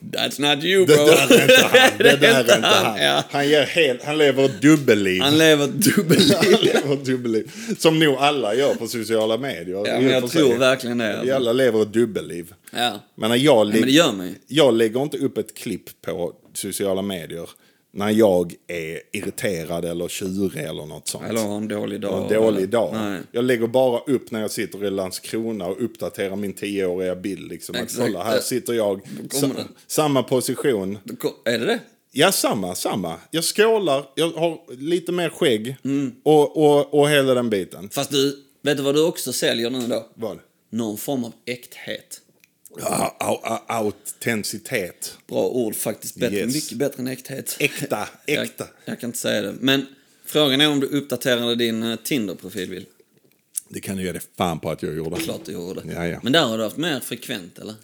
S2: that's not you
S1: Det
S2: bro.
S1: där är inte
S2: (laughs)
S1: han. Det
S2: Det
S1: där är inte han.
S2: Ja.
S1: Han, ger helt, han lever ett dubbelliv.
S2: Han lever ett
S1: (laughs) Han
S2: dubbelliv.
S1: lever ett dubbelliv. Som nog alla gör på sociala medier.
S2: Ja, men
S1: I och
S2: jag
S1: för sig.
S2: tror verkligen det.
S1: Vi
S2: Alltså.
S1: alla lever ett dubbelliv.
S2: Ja.
S1: Men när jag, lägg-
S2: men det gör man ju.
S1: jag lägger inte upp ett klipp på sociala medier när jag är irriterad eller tjurig eller något sånt.
S2: Eller har en dålig dag.
S1: en dålig
S2: eller-
S1: dag.
S2: Nej.
S1: Jag lägger bara upp när jag sitter i Landskrona och uppdaterar min tioåriga bild. Liksom. Att,
S2: Exakt.
S1: kolla, här sitter jag.
S2: kommer
S1: Sa-
S2: den.
S1: samma position.
S2: Då ko- Är det det?
S1: Ja, samma, samma. Jag skålar, jag har lite mer skägg och, och, och hela den biten.
S2: Fast du, vet du vad du också säljer nu då?
S1: Vad?
S2: Någon form av äkthet.
S1: Ja, Ah, au- au- Autenticitet.
S2: Bra ord faktiskt. Bättre,
S1: Yes.
S2: Mycket bättre än äkthet.
S1: Äkta, äkta.
S2: Jag, jag kan inte säga det. Men frågan är om du uppdaterade din eh, Tinder-profilbild.
S1: Det kan du ge dig fan på att jag gjorde.
S2: Klart du gjorde.
S1: Ja, ja.
S2: Men där har du haft mer frekvent, eller?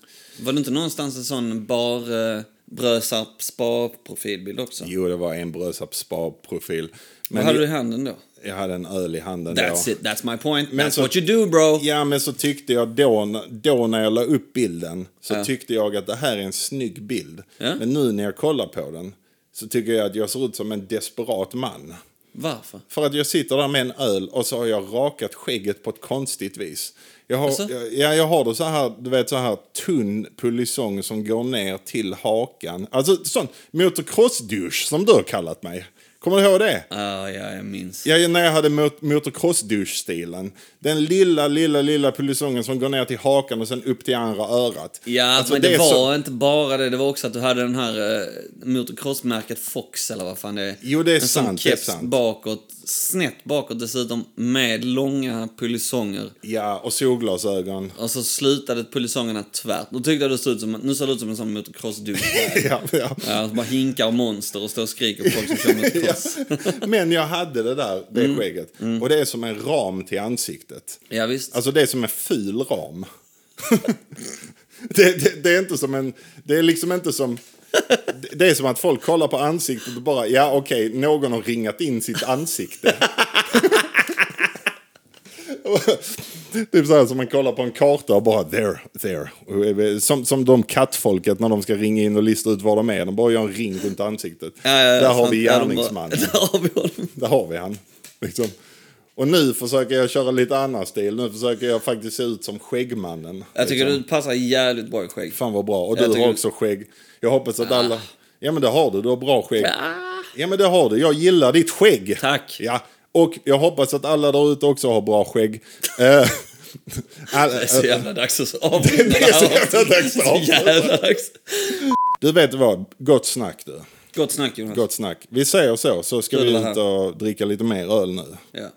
S2: Var det inte någonstans en sån bar, eh, brösarp, spa-profilbild också?
S1: Jo, det var en brösarp spa-profil.
S2: Vad
S1: Men
S2: hade du i
S1: jag,
S2: handen då?
S1: jag hade en öl i handen
S2: That's
S1: då.
S2: it, that's my point.
S1: Men
S2: that's
S1: så-
S2: what you do bro.
S1: Ja, men så tyckte jag då, då när jag la upp bilden så tyckte jag att det här är en snygg bild.
S2: Ja.
S1: Men nu när jag kollar på den så tycker jag att jag ser ut som en desperat man.
S2: Varför?
S1: För att jag sitter där med en öl och så har jag rakat skägget på ett konstigt vis. Jag har,
S2: Alltså?
S1: jag, ja, jag har det så här, du vet, så här tunn pulisong som går ner till hakan. Alltså sån motocross-dusch som du har kallat mig. Kommer du ihåg det?
S2: Ah, ja, jag minns.
S1: Ja, när jag hade mot- motocross-duschstilen. Den lilla, lilla, lilla pulisongen som går ner till hakan och sen upp till andra örat.
S2: Ja,
S1: Alltså,
S2: men det,
S1: är
S2: var
S1: så-
S2: inte bara det. Det var också att du hade den här eh, motocrossmärket Fox eller vad fan det är.
S1: Jo, det är
S2: en sån
S1: sant, det är
S2: keps
S1: sant.
S2: bakåt, snett bakåt dessutom med långa polisonger.
S1: Ja, och solglasögon. (laughs)
S2: Och så slutade pulisongerna tvärt. Då tyckte jag du såg ut som, nu ser du ut som en sån motocrossdude.
S1: Ja, ja.
S2: ja, alltså bara hinkar och monster och står och skriker på folk som
S1: (laughs)
S2: kör motocross.
S1: Ja. Men jag hade det där, det
S2: Mm.
S1: skägget. Och det är som en ram till ansiktet.
S2: Ja, visst.
S1: Alltså det är som en ful ram. (laughs) det, det, det är inte som en... Det är liksom inte som... det- Det är som att folk kollar på ansiktet och bara, ja okej, någon har ringat in sitt ansikte. (laughs) Typ så här som man kollar på en karta och bara there, there. Som, som de kattfolket när de ska ringa in och lista ut var de är. De bara gör en ring runt ansiktet. Där har
S2: sant.
S1: vi
S2: Ja, de bara-
S1: gärningsmannen.
S2: (laughs) Där har vi honom.
S1: Där har vi han. Liksom. Och nu försöker jag köra lite annan stil. Nu försöker jag faktiskt se ut som Skäggmannen.
S2: Jag tycker
S1: liksom.
S2: du passar jävligt bra i skägg.
S1: Fan vad bra. Och
S2: Jag
S1: du
S2: tycker- Ah.
S1: har också skägg. Jag hoppas att alla... Ja men det har du, du har bra skägg. Ja men det har du, jag gillar ditt skägg.
S2: Tack.
S1: Ja, och jag hoppas att alla där ute också har bra
S2: (laughs)
S1: skägg. Eh, alla-
S2: Det är så jävla dags att avrunda det
S1: är så
S2: här
S1: jävla
S2: avsnittet.
S1: dags att
S2: Så jävla dags.
S1: du vet vad, gott snack du.
S2: Gott snack Jonas.
S1: Gott snack. Vi säger så, så ska
S2: Kul
S1: vi
S2: det här.
S1: ut och dricka lite mer öl nu.
S2: Ja.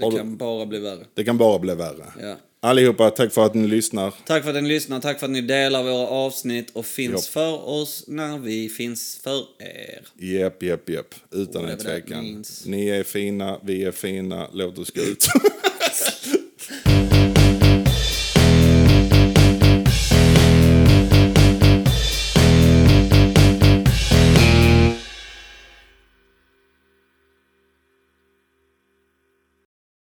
S1: Har
S2: Det
S1: du-
S2: kan bara bli värre.
S1: Det kan bara bli värre.
S2: Ja.
S1: Allihopa, tack för att ni lyssnar.
S2: Tack för att ni lyssnar, tack för att ni delar våra avsnitt och finns
S1: Ja.
S2: för oss när vi finns för er.
S1: Jep, jep, jep. Utan
S2: Whatever
S1: en
S2: that
S1: tvekan.
S2: means.
S1: Ni är fina, vi är fina, låt oss gå ut.